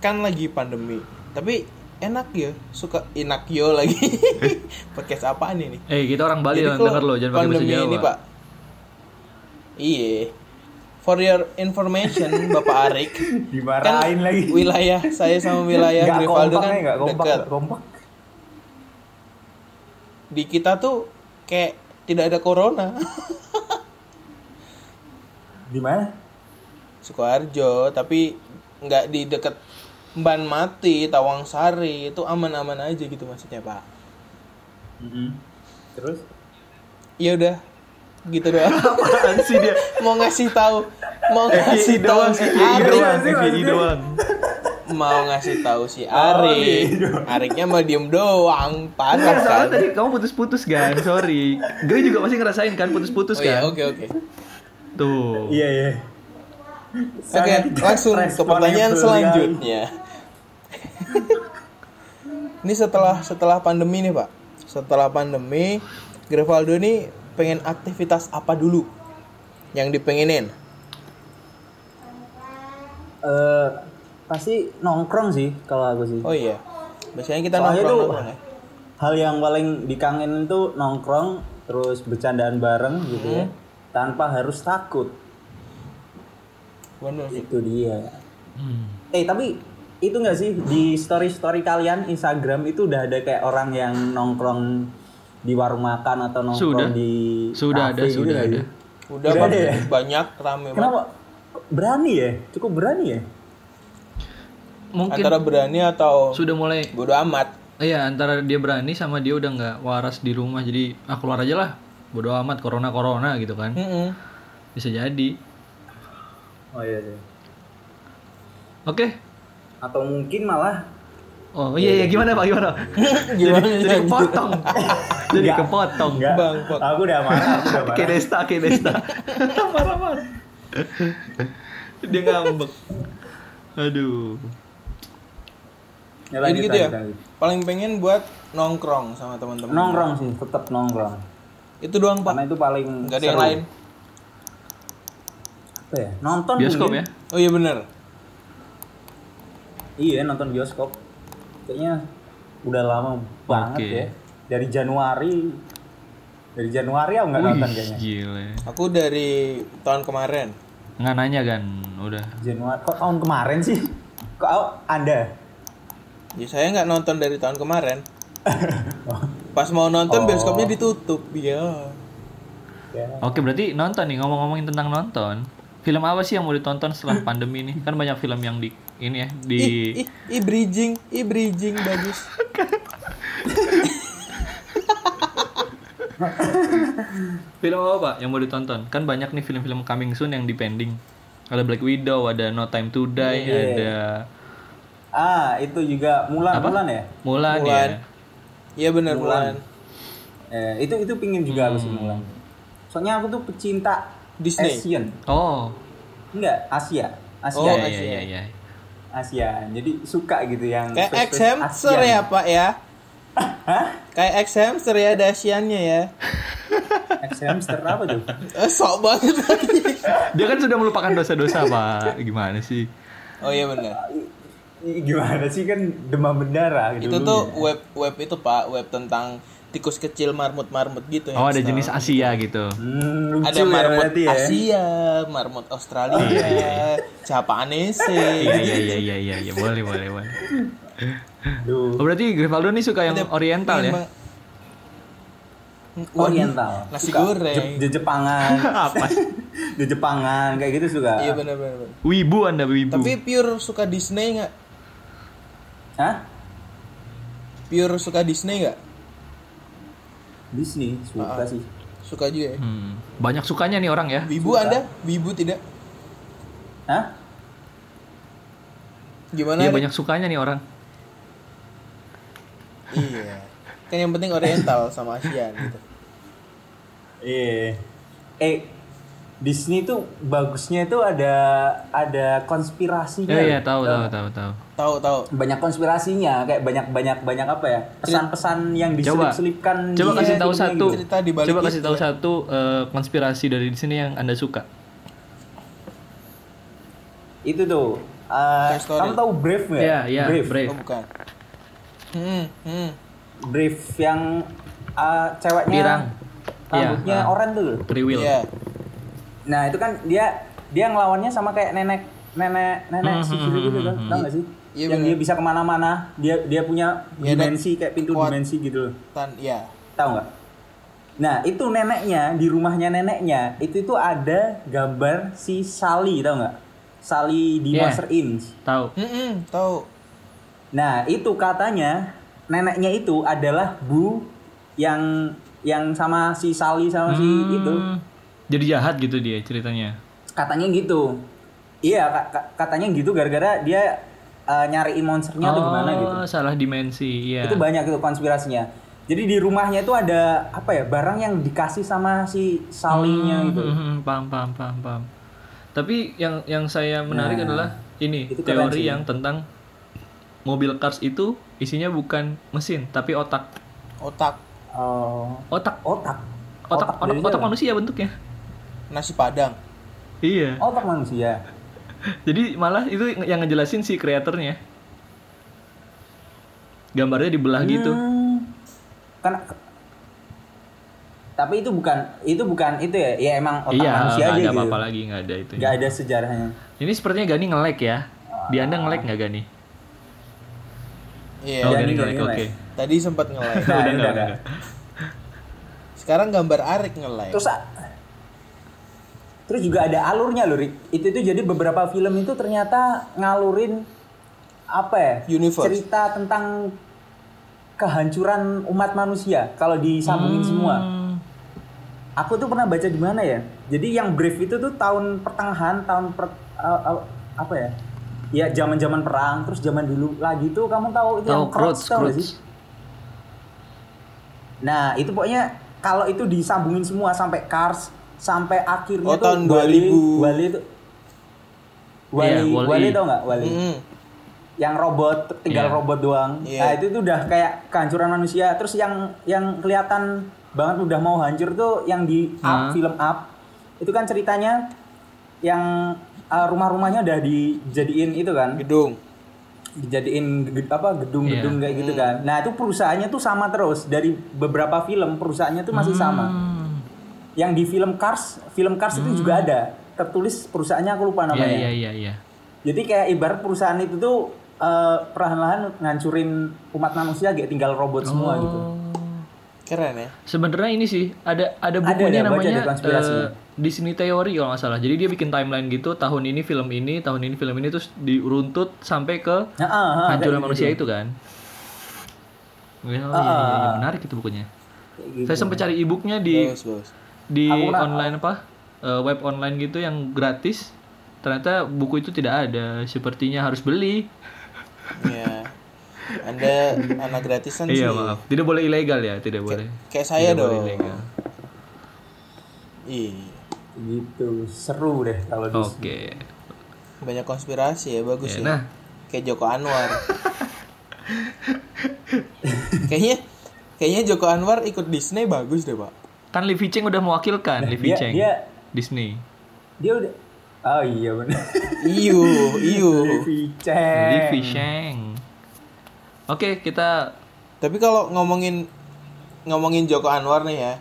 Speaker 2: kan lagi pandemi, tapi enak ya suka enak yo lagi podcast apaan ini?
Speaker 1: Eh kita orang Bali
Speaker 2: Jadi
Speaker 1: yang
Speaker 2: kalau
Speaker 1: denger lo jangan pakai bahasa
Speaker 2: pandemi
Speaker 1: Jawa.
Speaker 2: Ini, Pak. Iya. For your information, Bapak Arik.
Speaker 3: Dimarahin lagi.
Speaker 2: Kan Wilayah saya sama wilayah
Speaker 3: Nggak
Speaker 2: Grivaldo
Speaker 3: kompak
Speaker 2: kan
Speaker 3: ya, nggak kompak,
Speaker 2: dekat.
Speaker 3: nggak kompak.
Speaker 2: Di kita tuh kayak tidak ada corona.
Speaker 3: Di mana?
Speaker 2: Sukoharjo, tapi nggak di dekat Ban Mati, Tawang Sari, itu aman-aman aja gitu maksudnya, Pak.
Speaker 3: Terus?
Speaker 2: Ya udah, gitu doang.
Speaker 1: Apaan sih dia?
Speaker 2: mau ngasih tahu, mau
Speaker 3: Eh,
Speaker 2: ngasih tahu si
Speaker 1: FYI
Speaker 2: Arik.
Speaker 1: doang,
Speaker 3: sih, Oh,
Speaker 1: FYI
Speaker 3: maksudnya.
Speaker 1: doang.
Speaker 2: Eh, mau ngasih tahu si Arik. Ariknya mau diem doang,
Speaker 1: Enggak,
Speaker 2: panas kan?
Speaker 1: soalnya tadi kamu putus-putus kan, sorry. Gue juga masih ngerasain kan putus-putus
Speaker 2: Oh
Speaker 1: kan.
Speaker 2: iya, oke oke.
Speaker 1: Tuh.
Speaker 3: Iya, iya.
Speaker 2: Oke,
Speaker 3: Sangat tidak
Speaker 2: langsung ke
Speaker 3: responsible
Speaker 2: pertanyaan
Speaker 3: sekali.
Speaker 2: selanjutnya. ini setelah setelah pandemi nih, Pak. Setelah pandemi, Grevaldo ini pengen aktivitas apa dulu? Yang dipengenin?
Speaker 3: Eh, pasti nongkrong sih kalau aku sih.
Speaker 2: Oh iya. Biasanya kita nongkrong
Speaker 3: Soalnya tuh
Speaker 2: nongkrong ya.
Speaker 3: hal yang paling dikangenin tuh nongkrong terus bercandaan bareng gitu ya
Speaker 2: Hmm.
Speaker 3: tanpa harus takut
Speaker 2: Bener sih.
Speaker 3: itu dia
Speaker 1: Hmm.
Speaker 3: eh tapi itu nggak sih di story story kalian Instagram itu udah ada kayak orang yang nongkrong di warung makan atau
Speaker 1: Sudah.
Speaker 3: nongkrong di
Speaker 1: Sudah
Speaker 3: kafe
Speaker 1: ada,
Speaker 3: gitu
Speaker 1: sudah
Speaker 3: nggak
Speaker 1: ada.
Speaker 3: sih?
Speaker 2: Udah,
Speaker 3: Udah
Speaker 2: Pak.
Speaker 3: ada ya?
Speaker 2: banyak rame banget.
Speaker 3: kenapa berani ya cukup berani ya
Speaker 1: Mungkin
Speaker 2: Antara berani atau
Speaker 1: sudah mulai
Speaker 2: bodo amat.
Speaker 1: Iya antara dia berani sama dia udah nggak waras di rumah jadi ah keluar aja lah bodo amat corona corona gitu kan
Speaker 2: Mm-mm.
Speaker 1: bisa jadi
Speaker 3: oh iya, iya.
Speaker 1: oke
Speaker 3: atau mungkin malah
Speaker 1: oh iya iya gimana pak gimana
Speaker 2: Gimana
Speaker 1: jadi
Speaker 2: gitu.
Speaker 1: kepotong jadi
Speaker 3: Nggak.
Speaker 1: kepotong
Speaker 3: enggak
Speaker 2: Bang, Pak.
Speaker 3: aku udah marah aku udah marah
Speaker 1: kedesta kedesta marah-marah dia ngambek aduh
Speaker 3: Ya,
Speaker 2: Jadi
Speaker 3: lanjut,
Speaker 2: gitu ya.
Speaker 3: lanjut, lanjut.
Speaker 2: Paling pengen buat nongkrong sama teman-teman.
Speaker 3: nongkrong sih tetap nongkrong
Speaker 2: Itu doang, Pak.
Speaker 3: karena itu paling
Speaker 2: Enggak ada yang
Speaker 3: seru.
Speaker 2: lain.
Speaker 3: Apa ya? nonton
Speaker 1: bioskop ya
Speaker 3: mungkin.
Speaker 2: Oh iya bener.
Speaker 3: iya nonton bioskop kayaknya udah lama banget
Speaker 1: Oke.
Speaker 3: ya dari Januari Dari Januari aku nggak nonton kayaknya.
Speaker 1: Gile.
Speaker 2: Aku dari tahun kemarin.
Speaker 1: Nggak nanya kan, udah.
Speaker 3: Januari kok tahun kemarin sih? Kok au- Anda?
Speaker 2: Ya saya nggak nonton dari tahun kemarin. Pas mau nonton bioskopnya ditutup. Iya.
Speaker 3: Ya.
Speaker 1: Oke, berarti nonton nih ngomong-ngomongin tentang nonton. Film apa sih yang mau ditonton setelah pandemi ini? Kan banyak film yang di ini ya di
Speaker 2: Ih, ih bridging, ih bridging bagus.
Speaker 1: film apa Pak, yang mau ditonton? Kan banyak nih film-film coming soon yang di pending. Ada Black Widow, ada No Time to Die,
Speaker 3: Iya.
Speaker 1: ada
Speaker 3: Ah, itu juga Mulan, Mulan ya?
Speaker 1: Mulan,
Speaker 2: Mulan.
Speaker 1: ya.
Speaker 2: Iya benar Mulan.
Speaker 3: Eh, itu itu pingin juga aku sih Mulan. Soalnya aku tuh pecinta
Speaker 2: Hmm. Disney.
Speaker 3: Asian.
Speaker 1: Oh.
Speaker 3: Enggak, Asia. Asia.
Speaker 2: Oh,
Speaker 1: iya iya
Speaker 2: Asia.
Speaker 1: iya iya.
Speaker 3: Asia. Jadi suka gitu yang
Speaker 2: Kayak X
Speaker 3: spesies
Speaker 2: hamster
Speaker 3: Asian.
Speaker 2: ya Pak ya.
Speaker 3: Hah?
Speaker 2: Kayak X hamster ya ada Asiannya ya.
Speaker 3: X hamster apa tuh?
Speaker 2: Eh, sok banget lagi.
Speaker 1: Dia kan sudah melupakan dosa-dosa, Pak. Gimana sih?
Speaker 2: Oh iya benar.
Speaker 3: Ih, Gimana sih kan demam berdarah gitu.
Speaker 2: Itu tuh web web itu Pak, web tentang tikus kecil marmut-marmut gitu ya.
Speaker 1: Oh, ada
Speaker 2: Ustaz.
Speaker 1: jenis Asia gitu.
Speaker 3: Hmm, lucu
Speaker 2: ada
Speaker 3: ya
Speaker 2: marmut
Speaker 3: berarti ya. Iya.
Speaker 2: Asia, marmut Australia, Japanese.
Speaker 1: Iya iya iya iya iya iya boleh boleh boleh.
Speaker 3: Aduh.
Speaker 1: Oh, berarti Grivaldo nih suka yang
Speaker 2: Ada-
Speaker 1: oriental ya?
Speaker 2: Memang-
Speaker 3: Oriental.
Speaker 2: Nasi
Speaker 3: Suka.
Speaker 2: goreng.
Speaker 3: Je, je Jepangan.
Speaker 1: Apa?
Speaker 3: je Jepangan kayak gitu suka.
Speaker 2: Iya benar benar. benar.
Speaker 1: Wibu Anda wibu.
Speaker 2: Tapi pure suka Disney nggak?
Speaker 3: Hah?
Speaker 2: Pure suka Disney nggak?
Speaker 3: Disney
Speaker 2: Ah.
Speaker 3: suka sih.
Speaker 2: Suka juga ya.
Speaker 1: Hmm, banyak sukanya nih orang ya.
Speaker 2: Wibu Anda? Wibu tidak?
Speaker 3: Hah?
Speaker 2: Gimana?
Speaker 1: Iya
Speaker 2: Rik?
Speaker 1: banyak sukanya nih orang.
Speaker 2: Iya. Kan yang penting oriental sama Asian gitu.
Speaker 3: Iya. Eh Disney tuh bagusnya itu ada ada konspirasinya.
Speaker 1: Iya iya tahu tahu tahu tahu.
Speaker 2: Tahu tahu.
Speaker 3: Banyak konspirasinya, kayak banyak banyak banyak apa
Speaker 2: Iya.
Speaker 3: ya? Pesan-pesan yang
Speaker 1: Coba
Speaker 3: diselip-selipkan.
Speaker 1: coba
Speaker 3: di
Speaker 1: kasih tahu
Speaker 3: filmnya
Speaker 1: satu.
Speaker 3: gitu.
Speaker 2: Cerita di balik
Speaker 1: Coba
Speaker 2: itu
Speaker 1: kasih tahu satu eh, konspirasi dari di sini yang Anda suka.
Speaker 3: Itu tuh. eh,
Speaker 2: Toy Story.
Speaker 3: kamu tahu Brave nggak?
Speaker 1: Iya iya
Speaker 3: Brave.
Speaker 1: brave.
Speaker 2: Oh, bukan. Hmm, hmm.
Speaker 3: Brave yang eh, ceweknya
Speaker 1: Pirang.
Speaker 3: rambutnya
Speaker 1: Iya, ah.
Speaker 3: orang tuh.
Speaker 1: Free will.
Speaker 2: Iya.
Speaker 3: Nah itu kan dia dia ngelawannya sama kayak nenek nenek nenek
Speaker 1: Hmm,
Speaker 3: sihir gitu kan, tau gak sih?
Speaker 2: Iya,
Speaker 3: yang
Speaker 2: bener.
Speaker 3: dia bisa kemana-mana, dia dia punya
Speaker 2: Iya, dan
Speaker 3: dimensi kayak pintu
Speaker 2: kuat.
Speaker 3: dimensi gitu loh,
Speaker 2: Tan, ya.
Speaker 3: tau nggak? Nah itu neneknya di rumahnya neneknya itu itu ada gambar si Sally tau nggak? Sally di
Speaker 1: Iya.
Speaker 3: Monster Inc.
Speaker 1: Tahu.
Speaker 2: Hmm, hmm, tahu.
Speaker 3: Nah itu katanya neneknya itu adalah Bu yang yang sama si Sally sama si itu
Speaker 1: Hmm, Jadi jahat gitu dia ceritanya.
Speaker 3: katanya gitu iya ka- ka- katanya gitu gara-gara dia eh, nyariin monsternya atau gimana gitu
Speaker 1: Oh, salah dimensi. Iya.
Speaker 3: itu banyak itu konspirasinya jadi di rumahnya itu ada apa ya barang yang dikasih sama si Salinya gitu
Speaker 1: Hmm, hmm, paham paham paham paham. Tapi yang yang saya menarik
Speaker 3: Nah,
Speaker 1: adalah ini
Speaker 3: itu keren
Speaker 1: teori
Speaker 3: sih.
Speaker 1: yang tentang mobil cars itu isinya bukan mesin tapi otak.
Speaker 2: Otak
Speaker 3: oh
Speaker 1: Otak
Speaker 3: otak
Speaker 1: otak otak,
Speaker 3: dari
Speaker 1: otak,
Speaker 3: dalam.
Speaker 1: manusia bentuknya.
Speaker 2: nasi padang.
Speaker 1: Iya.
Speaker 3: otak manusia
Speaker 1: Jadi malah itu yang ngejelasin si kreatornya. Gambarnya dibelah gitu.
Speaker 3: Hmm. kan tapi itu bukan itu bukan itu ya ya emang otak
Speaker 1: iya, nggak
Speaker 3: manusia aja
Speaker 1: ada
Speaker 3: gitu
Speaker 1: apa-apa lagi, nggak ada itu.
Speaker 3: nggak ada sejarahnya
Speaker 1: Ini sepertinya Gani nge-lag ya. Di Anda nge-lag nggak Gani?
Speaker 2: Iya.
Speaker 1: oh,
Speaker 3: Gani
Speaker 1: Gani
Speaker 3: nggak
Speaker 1: nge-lag,
Speaker 3: nge-lag.
Speaker 1: oke.
Speaker 2: Tadi sempat nge-like.
Speaker 3: Nah,
Speaker 1: udah,
Speaker 3: udah,
Speaker 1: nggak,
Speaker 3: udah.
Speaker 1: nggak.
Speaker 2: Sekarang gambar Arik nge-like.
Speaker 3: Terus a- terus juga ada alurnya loh, Rik. Itu itu jadi beberapa film itu ternyata ngalurin apa ya?
Speaker 2: Universe.
Speaker 3: Cerita tentang kehancuran umat manusia kalau disambungin semua.
Speaker 1: Hmm.
Speaker 3: Aku tuh pernah baca di mana ya? Jadi yang brief itu tuh tahun pertengahan, tahun per, eh, eh, apa ya? Ya zaman-zaman perang, terus zaman dulu lagi tuh kamu tahu itu
Speaker 1: Tahu
Speaker 3: yang Crocs,
Speaker 1: Croods,
Speaker 3: tau nggak
Speaker 1: Croods.
Speaker 3: sih? Nah, itu pokoknya kalau itu disambungin semua sampai Cars sampai
Speaker 2: Oh,
Speaker 3: akhirnya tuh
Speaker 2: tahun
Speaker 3: Wally,
Speaker 2: 2000.
Speaker 3: Wally itu Wally,
Speaker 1: Iya, Wall-E.
Speaker 3: Wally tau nggak Wally?
Speaker 2: Hmm.
Speaker 3: Yang robot tinggal
Speaker 1: Iya.
Speaker 3: robot doang.
Speaker 2: Iya.
Speaker 3: Nah, itu tuh udah kayak kehancuran manusia. Terus yang yang kelihatan banget udah mau hancur tuh yang di
Speaker 1: Hah?
Speaker 3: up, film up. Itu kan ceritanya yang uh, rumah-rumahnya udah dijadiin itu kan
Speaker 2: Gedung.
Speaker 3: dijadiin ged- apa gedung-gedung
Speaker 1: Iya.
Speaker 3: kayak gitu
Speaker 1: Hmm.
Speaker 3: kan. Nah, itu perusahaannya tuh sama terus dari beberapa film perusahaannya tuh
Speaker 1: Hmm.
Speaker 3: masih sama. Yang di film Cars, film Cars itu juga ada. Tertulis perusahaannya aku lupa
Speaker 1: Hmm. Iya
Speaker 3: namanya.
Speaker 1: iya iya iya.
Speaker 3: Jadi kayak ibarat perusahaan itu tuh eh, perlahan-lahan ngancurin umat manusia kayak tinggal robot semua
Speaker 1: Oh.
Speaker 3: gitu.
Speaker 2: Keren ya.
Speaker 1: Sebenarnya ini sih ada ada
Speaker 3: ada,
Speaker 1: bukunya
Speaker 3: baca
Speaker 1: namanya
Speaker 3: ada konspirasinya.
Speaker 1: eh, Disney Theory kalau nggak salah. Jadi dia bikin timeline gitu tahun ini film ini, tahun ini film ini terus diruntut sampai ke
Speaker 3: Nah, ah, ah, kayak
Speaker 1: hancuran
Speaker 3: gitu. Ah,
Speaker 1: manusia itu kan. Well, iya, iya, iya, menarik itu bukunya.
Speaker 3: Kayak gitu.
Speaker 1: Saya sempat cari e-booknya di
Speaker 2: Bagus, bagus.
Speaker 1: di online apa eh, web online gitu yang gratis. Ternyata buku itu tidak ada. Sepertinya harus beli.
Speaker 2: Iya. Anda anak gratisan sih.
Speaker 1: Iya maaf. Iya, Tidak boleh ilegal ya, tidak boleh.
Speaker 2: Kayak saya dong. Iya.
Speaker 1: Ilegal.
Speaker 2: Ih.
Speaker 3: gitu seru deh kalau di
Speaker 1: Oke.
Speaker 2: Banyak konspirasi ya, bagus ya.
Speaker 1: Nah,
Speaker 2: Kayak Joko Anwar. kayaknya kayaknya Joko Anwar ikut Disney bagus deh, Pak.
Speaker 1: kan Livi Cheng udah mewakilkan Livi
Speaker 3: dia-
Speaker 1: Cheng
Speaker 3: dia-
Speaker 1: Disney
Speaker 3: dia udah oh iya benar
Speaker 2: Iyo, iyo.
Speaker 3: Vicen
Speaker 1: Livi Cheng oke kita
Speaker 2: Tapi kalau ngomongin ngomongin Joko Anwar nih ya.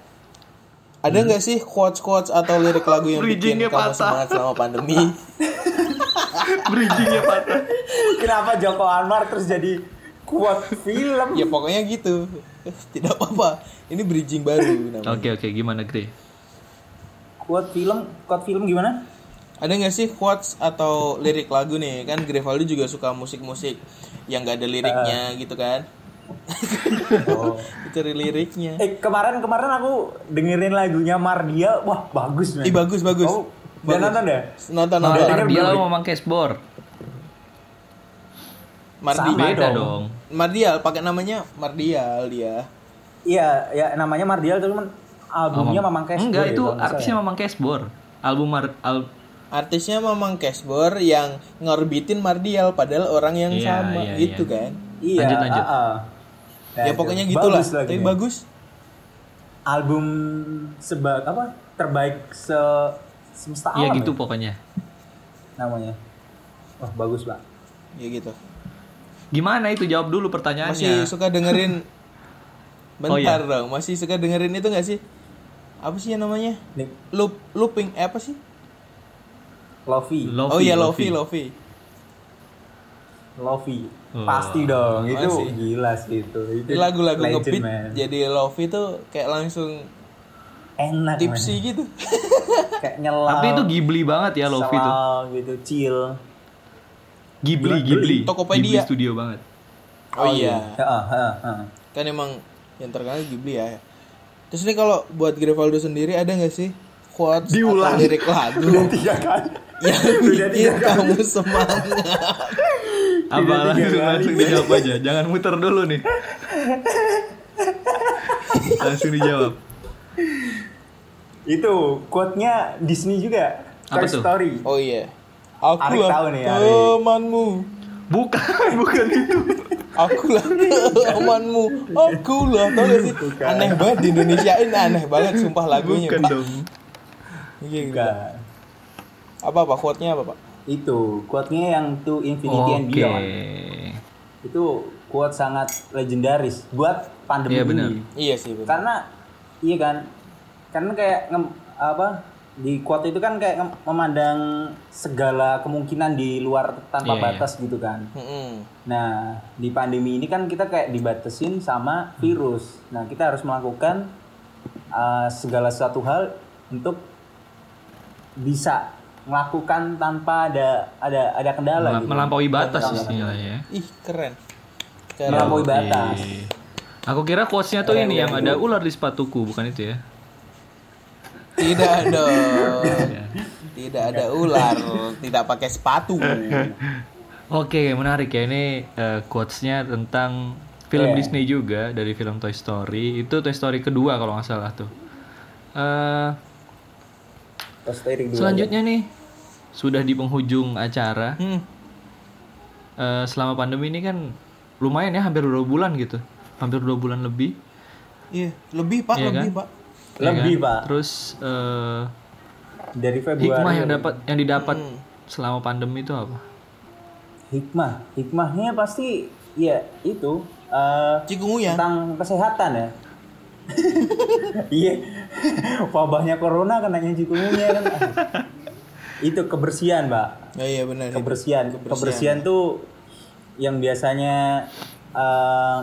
Speaker 2: Ada nggak sih quotes-quotes atau lirik lagu yang bikin
Speaker 1: Hmm. Bridgingnya
Speaker 2: kamu
Speaker 1: patah.
Speaker 2: semangat selama pandemi?
Speaker 1: bridgingnya patah
Speaker 3: kenapa Joko Anwar terus jadi kuat film
Speaker 2: ya pokoknya gitu. Tidak apa-apa. Ini bridging baru namanya.
Speaker 1: oke oke gimana Gre
Speaker 3: kuat film kuat film gimana
Speaker 2: Ada nggak sih quotes atau lirik lagu nih? Kan Grevaldo juga suka musik-musik yang nggak ada liriknya
Speaker 1: Eh.
Speaker 2: gitu kan? Oh. Cari liriknya.
Speaker 3: eh kemarin kemarin aku dengerin lagunya Mardia wah bagus
Speaker 1: Hmm.
Speaker 3: men
Speaker 2: Ih bagus bagus.
Speaker 3: Kamu
Speaker 1: Oh.
Speaker 3: udah nonton ya? deh
Speaker 2: Nonton
Speaker 1: Kalau
Speaker 2: nonton.
Speaker 1: Mardial mau pakai sport
Speaker 2: Mardi.
Speaker 3: Sama
Speaker 1: beda
Speaker 3: dong.
Speaker 1: dong
Speaker 2: Mardial pakai namanya Mardial dia.
Speaker 3: iya ya namanya Mardial tapi men- albumnya Mamang Kes
Speaker 1: enggak
Speaker 3: Boy,
Speaker 1: itu
Speaker 3: kalau nggak salah.
Speaker 1: artisnya Mamang Kesbor album Mar al
Speaker 2: Artisnya Mamang Cashbor yang ngorbitin Mardial padal orang yang
Speaker 1: Iya,
Speaker 2: sama
Speaker 1: iya,
Speaker 2: gitu
Speaker 1: iya.
Speaker 2: kan.
Speaker 3: iya
Speaker 1: Lanjut, lanjut.
Speaker 3: ah, ah.
Speaker 2: Ya,
Speaker 3: itu.
Speaker 2: pokoknya gitulah.
Speaker 3: Bagus lagunya.
Speaker 2: Tapi bagus.
Speaker 3: album seba apa terbaik se semesta
Speaker 1: ya
Speaker 3: alam
Speaker 1: gitu pokoknya
Speaker 3: namanya wah bagus pak
Speaker 2: Ya gitu.
Speaker 1: gimana itu jawab dulu
Speaker 2: Masih
Speaker 1: pertanyaannya
Speaker 2: suka dengerin
Speaker 1: Oh, iya.
Speaker 2: Bentar dong, masih suka dengerin itu gak sih? Apa sih yang namanya?
Speaker 3: nih
Speaker 2: Loop, looping eh, apa sih?
Speaker 3: Lofi
Speaker 1: Lofi,
Speaker 2: oh iya
Speaker 1: Lofi.
Speaker 2: Lofi, Lofi.
Speaker 3: Lofi
Speaker 1: Oh.
Speaker 3: pasti dong itu
Speaker 2: Masih.
Speaker 3: gila sih itu itu
Speaker 2: Ini Iya Lagu-lagu
Speaker 3: legend,
Speaker 2: ngebeat
Speaker 3: man.
Speaker 2: jadi Lofi tuh kayak langsung
Speaker 3: enak
Speaker 2: tipsy gitu.
Speaker 3: man. kayak nyelam
Speaker 1: tapi itu Ghibli banget ya Lofi tuh
Speaker 3: selam gitu chill
Speaker 1: Ghibli Ghibli Ghibli
Speaker 2: Tokopedia.
Speaker 1: studio banget
Speaker 2: Oh, iya.
Speaker 3: Heeh, heeh, heeh.
Speaker 2: Kan emang yang terkenal Ghibli ya. Terus ini kalau buat Grevaldo sendiri ada nggak sih quotes
Speaker 3: Diulang.
Speaker 2: atau lirik
Speaker 3: udah
Speaker 2: lagu
Speaker 3: tiga kali
Speaker 2: yang
Speaker 3: Udah
Speaker 2: bikin
Speaker 3: tiga
Speaker 2: kamu semangat?
Speaker 1: apa langsung
Speaker 3: tiga kali.
Speaker 1: Iya, langsung dijawab aja jangan muter dulu nih langsung dijawab
Speaker 3: itu quote-nya Disney juga
Speaker 1: Apa
Speaker 3: Toy
Speaker 1: tuh?
Speaker 3: Story
Speaker 2: Oh iya. Aku
Speaker 3: Arik tahu
Speaker 2: lah
Speaker 3: nih, Arik.
Speaker 2: temanmu.
Speaker 1: bukan bukan itu
Speaker 2: Aku lah temanmu. Aku lah tau gak sih?
Speaker 3: Bukan.
Speaker 2: Aneh banget di Indonesia ini aneh banget sumpah lagunya.
Speaker 1: bukan
Speaker 2: Pak.
Speaker 1: dong
Speaker 2: Iya, gitu.
Speaker 3: Bukan.
Speaker 2: Apa apa quote-nya apa, Pak?
Speaker 3: itu quote-nya yang to infinity and
Speaker 1: oke
Speaker 3: beyond itu quote sangat legendaris buat pandemi
Speaker 1: Iya, benar.
Speaker 3: ini
Speaker 2: Iya sih benar.
Speaker 3: karena iya kan karena kayak nge- apa di quote itu kan kayak nge- memandang segala kemungkinan di luar tanpa
Speaker 1: Iya,
Speaker 3: batas gitu kan
Speaker 2: Mm-mm.
Speaker 3: nah di pandemi ini kan kita kayak dibatesin sama virus nah kita harus melakukan uh, segala sesuatu hal untuk bisa melakukan tanpa ada ada ada kendala
Speaker 1: Mel-
Speaker 3: gitu.
Speaker 1: melampaui batas
Speaker 3: Tanpa kendala.
Speaker 1: istilahnya ya
Speaker 2: Ih, keren. Keren.
Speaker 3: melampaui batas
Speaker 1: Oke. aku kira quotesnya tuh ini yang ada ular di sepatuku bukan itu ya
Speaker 2: Tidak ada. Tidak ada ular, tidak pakai sepatu.
Speaker 1: oke menarik ya ini eh, quotesnya tentang
Speaker 3: Iya.
Speaker 1: film Disney juga dari film Toy Story itu Toy Story kedua kalau nggak salah tuh eh
Speaker 3: Terus dari dulu.
Speaker 1: Selanjutnya nih, sudah di penghujung acara.
Speaker 2: Hmm.
Speaker 1: Eh, selama pandemi ini kan lumayan ya, hampir dua bulan gitu, hampir dua bulan lebih.
Speaker 2: Iya, lebih Pak, lebih Pak.
Speaker 1: ya
Speaker 3: lebih
Speaker 1: kan?
Speaker 3: pak
Speaker 1: Terus eh,
Speaker 3: dari Februari Hmm.
Speaker 1: hikmah yang dapat, yang didapat selama pandemi itu apa?
Speaker 3: hikmah hikmahnya pasti ya itu eh,
Speaker 2: Cikungunya.
Speaker 3: tentang kesehatan ya iya wabahnya corona kenanya cikungunya kan itu kebersihan pak
Speaker 2: Ya iya benar. itu.
Speaker 3: kebersihan kebersihan, tuh yang biasanya eh,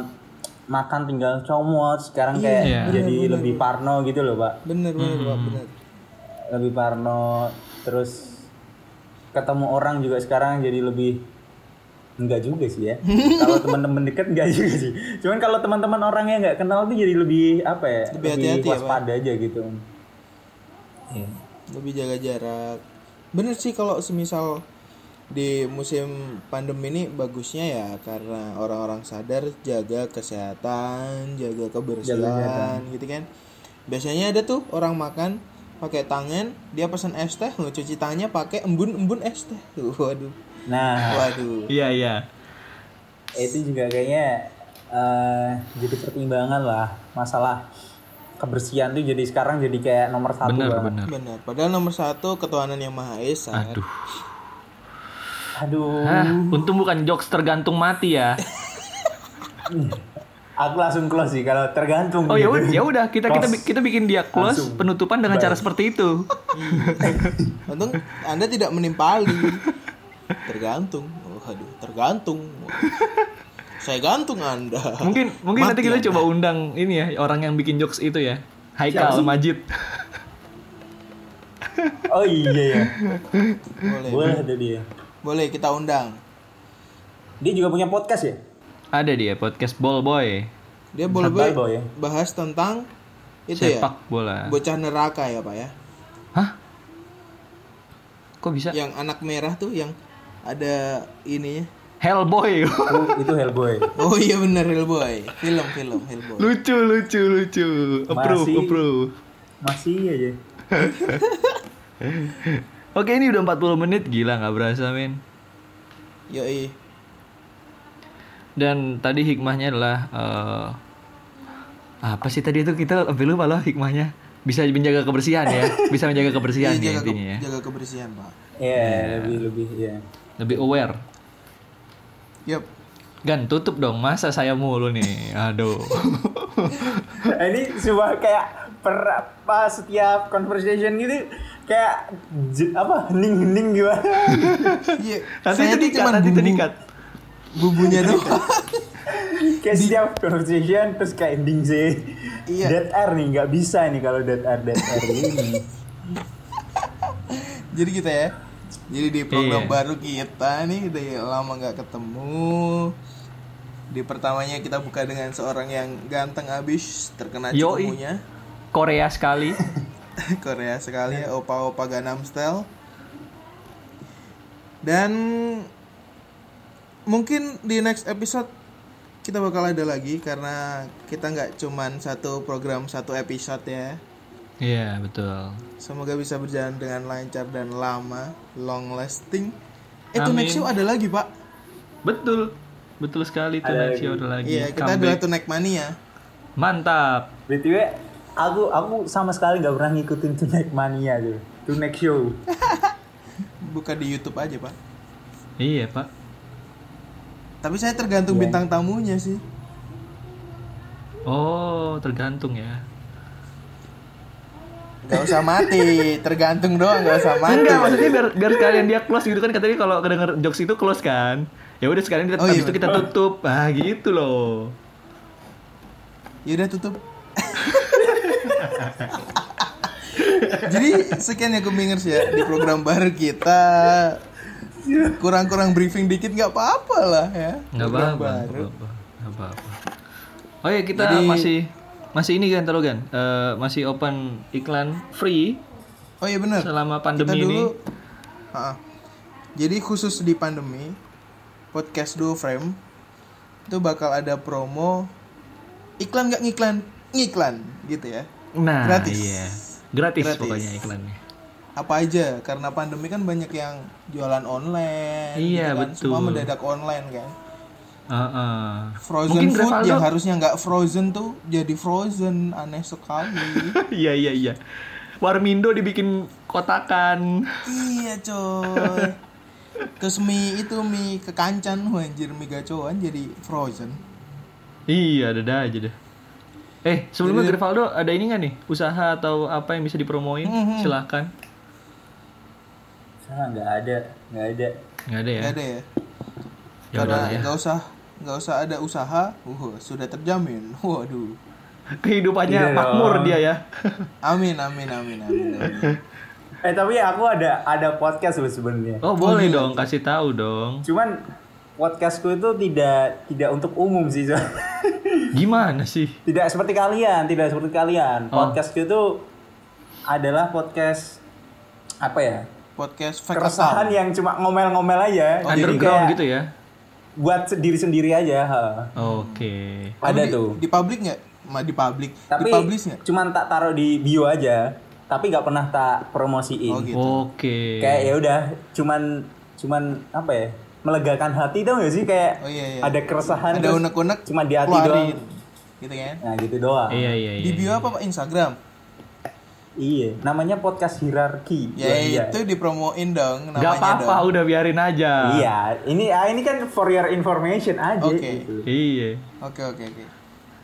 Speaker 3: makan tinggal comot sekarang kayak
Speaker 1: Iya.
Speaker 3: jadi lebih parno gitu loh pak
Speaker 2: Benar benar Pak, benar.
Speaker 3: lebih parno terus ketemu orang juga sekarang jadi lebih enggak juga sih ya kalau teman-teman deket enggak juga sih cuman kalau teman-teman orang yang enggak kenal tuh jadi lebih apa ya
Speaker 2: Lebih hati-hati ya, Pak.
Speaker 3: waspada aja gitu Iya.
Speaker 2: Lebih jaga jarak. Bener sih kalau semisal di musim pandemi ini bagusnya ya karena orang-orang sadar jaga kesehatan, jaga kebersihan gitu kan. Biasanya ada tuh orang makan pakai tangan, dia pesan es teh, mau cuci tangannya pakai embun-embun es teh. Waduh.
Speaker 3: nah
Speaker 2: Waduh.
Speaker 1: Iya iya.
Speaker 3: itu juga kayaknya eh, jadi pertimbangan lah masalah kebersihan tuh jadi sekarang jadi kayak nomor satu
Speaker 1: Benar
Speaker 3: banget.
Speaker 1: benar.
Speaker 2: Benar. Padahal nomor satu ketuhanan yang Maha Esa.
Speaker 1: Aduh.
Speaker 3: aduh
Speaker 1: Hah, untung bukan jokes tergantung mati ya.
Speaker 3: aku langsung close sih kalau tergantung
Speaker 1: Oh ya
Speaker 3: gitu.
Speaker 1: udah, ya udah kita kita
Speaker 3: Close.
Speaker 1: kita bikin dia close penutupan dengan cara seperti itu.
Speaker 2: Untung Anda tidak menimpali. Tergantung. Oh, aduh, tergantung. Wah. Saya gantung Anda.
Speaker 1: Mungkin mungkin nanti kita coba undang ini ya orang yang bikin jokes itu ya. Haikal Majid.
Speaker 3: oh iya ya
Speaker 2: Boleh.
Speaker 3: boleh tuh dia
Speaker 2: Boleh kita undang.
Speaker 3: dia juga punya podcast ya
Speaker 1: Ada dia podcast Ball Boy.
Speaker 2: Dia boleh
Speaker 3: Satbal
Speaker 2: boleh
Speaker 3: Boy ya?
Speaker 2: bahas tentang itu
Speaker 1: sepak
Speaker 2: ya.
Speaker 1: bola.
Speaker 2: Bocah neraka ya, Pak ya.
Speaker 1: Hah? Kok bisa?
Speaker 2: Yang anak merah tuh yang ada ininya.
Speaker 1: Hellboy.
Speaker 3: Oh, itu Hellboy
Speaker 2: Oh iya bener Hellboy. Film film Hellboy.
Speaker 1: lucu lucu lucu. Approve
Speaker 3: Masih.
Speaker 1: approve.
Speaker 3: masih aja
Speaker 1: Oke ini udah 40 menit gila nggak berasa men.
Speaker 2: Yoi.
Speaker 1: Dan tadi hikmahnya adalah eh, apa sih tadi itu kita sampai lupa loh hikmahnya. Bisa menjaga kebersihan ya. Bisa menjaga
Speaker 2: Iya,
Speaker 1: kebersihan ya
Speaker 2: Jaga, ke-
Speaker 1: intinya ya.
Speaker 2: jaga kebersihan, Pak.
Speaker 3: ya lebih lebih ya
Speaker 1: Lebih aware.
Speaker 2: Yap.
Speaker 1: Gan tutup dong masa saya mulu nih. Aduh.
Speaker 3: ini sebuah kayak per apa setiap conversation gitu kayak j- apa gitu. hening hening gimana
Speaker 2: Iya.
Speaker 1: nanti
Speaker 2: saya
Speaker 1: itu
Speaker 2: tuh
Speaker 1: dikat,
Speaker 2: cuman
Speaker 1: nanti itu
Speaker 2: bumbu-
Speaker 1: dikat.
Speaker 2: Bumbunya doang.
Speaker 3: kayak setiap conversation terus kayak ending sih
Speaker 2: Iya.
Speaker 3: dead air nih nggak bisa nih kalau dead air dead air ini
Speaker 2: Jadi kita ya. Jadi di program
Speaker 1: Iya.
Speaker 2: baru kita nih udah lama nggak ketemu. Di pertamanya kita buka dengan seorang yang ganteng abis terkena
Speaker 1: Yoi.
Speaker 2: cikungunya
Speaker 1: Korea sekali.
Speaker 2: Korea sekali ya, opa-opa Gangnam Style. Dan mungkin di next episode kita bakal ada lagi karena kita nggak cuman satu program satu episode ya.
Speaker 1: Iya betul.
Speaker 2: Semoga bisa berjalan dengan lancar dan lama, long lasting. Eh,
Speaker 1: Amin.
Speaker 2: Tunex Show ada lagi, Pak.
Speaker 1: Betul. Betul sekali tuh
Speaker 3: Ada
Speaker 1: Nancy
Speaker 3: lagi.
Speaker 1: udah lagi.
Speaker 2: Iya, kita
Speaker 1: Comeback.
Speaker 2: adalah Tunex Mania.
Speaker 1: Mantap.
Speaker 3: btw aku aku sama sekali nggak pernah ngikutin tunek mania tuh tunek show
Speaker 2: Buka di YouTube aja, Pak.
Speaker 1: Iya, Pak.
Speaker 2: Tapi saya
Speaker 1: Iya.
Speaker 2: tergantung bintang tamunya sih.
Speaker 1: Oh, tergantung ya.
Speaker 2: Gak usah mati, tergantung doang gak usah mati.
Speaker 1: Enggak, maksudnya biar biar sekalian dia close gitu kan katanya kalau kedenger jokes itu close kan. Ya udah sekalian kita
Speaker 2: Oh,
Speaker 1: habis
Speaker 2: iya,
Speaker 1: itu kita tutup. Ah, gitu loh.
Speaker 2: Yaudah tutup. Jadi sekian ya Kumingers ya di program baru kita. Kurang-kurang briefing dikit nggak apa-apa lah ya.
Speaker 1: Enggak
Speaker 2: Program
Speaker 1: apa-apa.
Speaker 2: baru.
Speaker 1: Iya. nggak apa-apa, nggak apa-apa. Oh ya, kita masih masih ini kan taruh kan. Eh, masih open iklan free
Speaker 2: Oh iya benar.
Speaker 1: selama
Speaker 2: kita
Speaker 1: pandemi ini.
Speaker 2: dulu Ha-ha. jadi khusus di pandemi podcast duo frame itu bakal ada promo iklan nggak ngiklan ngiklan gitu ya
Speaker 1: Nah,
Speaker 2: Gratis.
Speaker 1: iya. Gratis,
Speaker 2: Gratis.
Speaker 1: pokoknya iklannya.
Speaker 2: apa aja karena pandemi kan banyak yang jualan online
Speaker 1: Iya,
Speaker 2: gitu kan.
Speaker 1: betul.
Speaker 2: semua mendadak online kan
Speaker 1: Heeh.
Speaker 2: frozen
Speaker 1: Mungkin
Speaker 2: food ya
Speaker 1: Gravaldo-
Speaker 2: yang harusnya nggak frozen tuh jadi frozen aneh sekali
Speaker 1: Iya, iya, iya. Warmindo dibikin kotakan.
Speaker 2: iya coy ke mie itu mie kekancan wah, anjir mie gacoan jadi frozen
Speaker 1: Iya, ada aja deh. Eh, sebelumnya Grivaldo ada ini nggak nih? Usaha atau apa yang bisa dipromoin? Silahkan.
Speaker 3: Salah nggak ada, nggak ada.
Speaker 1: Nggak ada ya?
Speaker 2: nggak ada ya
Speaker 1: Ya
Speaker 2: nggak
Speaker 1: udah
Speaker 2: ada-
Speaker 1: ya.
Speaker 2: nggak usah nggak usah ada usaha uh, sudah terjamin waduh
Speaker 1: Kehidupannya
Speaker 3: Iya
Speaker 1: makmur
Speaker 3: dong.
Speaker 1: dia ya.
Speaker 2: amin amin amin amin, amin.
Speaker 3: Eh tapi aku ada ada podcast loh sebenarnya.
Speaker 1: Oh, boleh dong kasih tahu dong.
Speaker 3: Cuman podcastku itu tidak tidak untuk umum sih. so.
Speaker 1: Gimana sih?
Speaker 3: tidak seperti kalian, tidak seperti
Speaker 1: Oh.
Speaker 3: kalian. Podcastku itu adalah podcast apa ya?
Speaker 2: podcast fake
Speaker 3: Keresahan ya,
Speaker 2: account
Speaker 3: yang cuma ngomel-ngomel aja. Oh, Jadi kayak
Speaker 1: Underground gitu ya.
Speaker 3: Buat sendiri sendiri aja. ha.
Speaker 1: Oke.
Speaker 2: Kamu
Speaker 3: Ada
Speaker 2: di,
Speaker 3: tuh.
Speaker 2: di publik nggak Ma, di publik di
Speaker 3: Tapi
Speaker 2: publish nggak
Speaker 3: cuman tak taruh di bio aja. Tapi nggak pernah tak promosiin.
Speaker 2: oh gitu
Speaker 1: Oke.
Speaker 3: kayak ya udah cuman cuman apa ya melegakan hati tau gak sih kayak
Speaker 2: Oh, iya, iya.
Speaker 3: ada keresahan
Speaker 2: ada
Speaker 3: terus
Speaker 2: unek-unek
Speaker 3: cuma di hati doang
Speaker 2: keluarin. gitu kan
Speaker 3: nah gitu doang
Speaker 1: Iya, iya,
Speaker 2: di
Speaker 1: iya.
Speaker 2: bio apa Pak? Instagram
Speaker 3: iya namanya podcast hierarki
Speaker 2: ya
Speaker 3: Wah, iya.
Speaker 2: itu dipromoin dong namanya
Speaker 1: Gak apa-apa,
Speaker 2: dong
Speaker 1: udah biarin aja.
Speaker 3: iya ini ah, ini kan for your information aja
Speaker 2: Oke.
Speaker 3: gitu.
Speaker 1: Iya.
Speaker 2: oke oke oke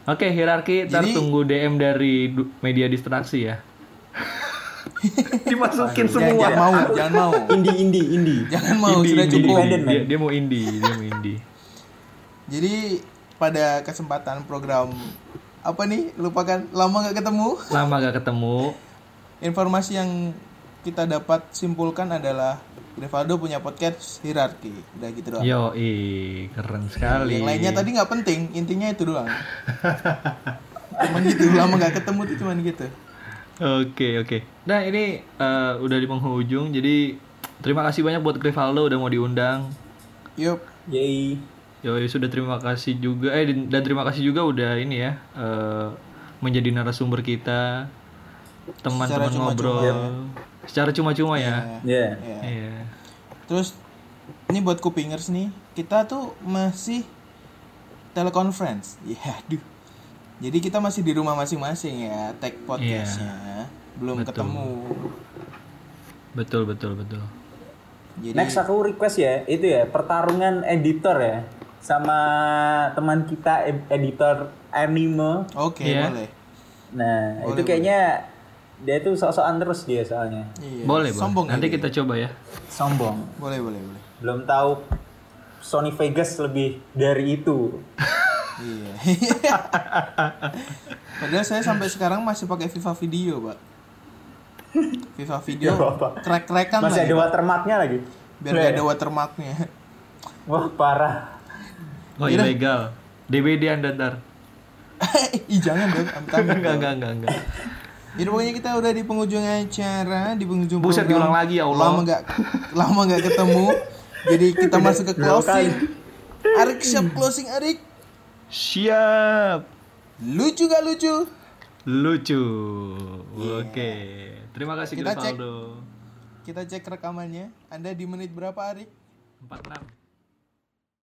Speaker 1: Oke, hierarki ntar
Speaker 2: Jadi-
Speaker 1: tunggu DM dari du- media distraksi ya. Dimasukin
Speaker 3: Iya,
Speaker 2: jangan,
Speaker 1: semua.
Speaker 2: jangan mau jangan mau
Speaker 3: indie indie indie
Speaker 2: jangan mau
Speaker 1: Indie,
Speaker 2: sudah
Speaker 1: indie,
Speaker 2: cukup ya?
Speaker 1: indie.
Speaker 3: Independen,
Speaker 1: Dia,
Speaker 3: man.
Speaker 1: dia mau indie, dia mau indie.
Speaker 2: jadi pada kesempatan program apa nih lupakan lama nggak ketemu
Speaker 1: Lama gak ketemu.
Speaker 2: informasi yang kita dapat simpulkan adalah Rivaldo punya podcast hierarki udah gitu doang
Speaker 1: Yo, keren sekali.
Speaker 2: yang lainnya tadi nggak penting intinya itu doang cuman gitu lama nggak ketemu tuh cuman gitu
Speaker 1: Oke oke. Nah ini eh, udah di penghujung jadi terima kasih banyak buat Grivaldo udah mau diundang.
Speaker 2: yuk
Speaker 3: yay
Speaker 1: Yoi sudah terima kasih juga eh dan terima kasih juga udah ini ya eh, menjadi narasumber kita teman-teman
Speaker 2: Secara
Speaker 1: ngobrol secara cuma-cuma ya.
Speaker 3: ya
Speaker 2: ya.
Speaker 1: Iya.
Speaker 2: terus ini buat kupingers nih kita tuh masih telekonferensi ya aduh jadi kita masih di rumah masing-masing ya tag
Speaker 1: Iya.
Speaker 2: podcastnya belum ketemu
Speaker 1: Betul betul betul.
Speaker 2: jadi
Speaker 3: next aku request ya itu ya pertarungan editor ya sama teman kita ed- editor anime
Speaker 2: oke
Speaker 1: Iya.
Speaker 2: boleh
Speaker 3: Nah,
Speaker 2: Oh,
Speaker 3: itu kayaknya dia itu sok-sokan terus dia soalnya.
Speaker 2: Iya,
Speaker 1: boleh
Speaker 2: sombong
Speaker 1: boleh. Nanti kita coba ya.
Speaker 3: Sombong.
Speaker 2: boleh boleh boleh
Speaker 3: Belum tahu Sony Vegas lebih dari itu.
Speaker 2: iya padahal saya sampai sekarang masih pakai FIFA video pak FIFA video
Speaker 3: Gak apa-apa.
Speaker 2: crack crackan lah
Speaker 3: Iya, Masih ada Iya.
Speaker 2: ya,
Speaker 3: watermarknya lagi.
Speaker 2: biar gak ada watermarknya
Speaker 3: Wah, parah.
Speaker 1: Oh
Speaker 2: Iya.
Speaker 1: ilegal. DBD anda ntar.
Speaker 2: ih jangan dong amit-amit
Speaker 1: Enggak
Speaker 2: dong.
Speaker 1: enggak enggak enggak.
Speaker 2: Jadi pokoknya kita udah di penghujung acara, di penghujung
Speaker 1: Buset,
Speaker 2: program.
Speaker 1: diulang lagi, ya Allah.
Speaker 2: Lama nggak lama nggak ketemu. Jadi kita masuk ke closing. Arik siap closing Arik.
Speaker 1: Siap.
Speaker 2: Lucu gak lucu?
Speaker 1: lucu. Oke, terima kasih
Speaker 2: Iya. Kita cek.
Speaker 1: Grivaldo.
Speaker 2: Kita cek rekamannya. Anda di menit berapa Arik?
Speaker 1: 46.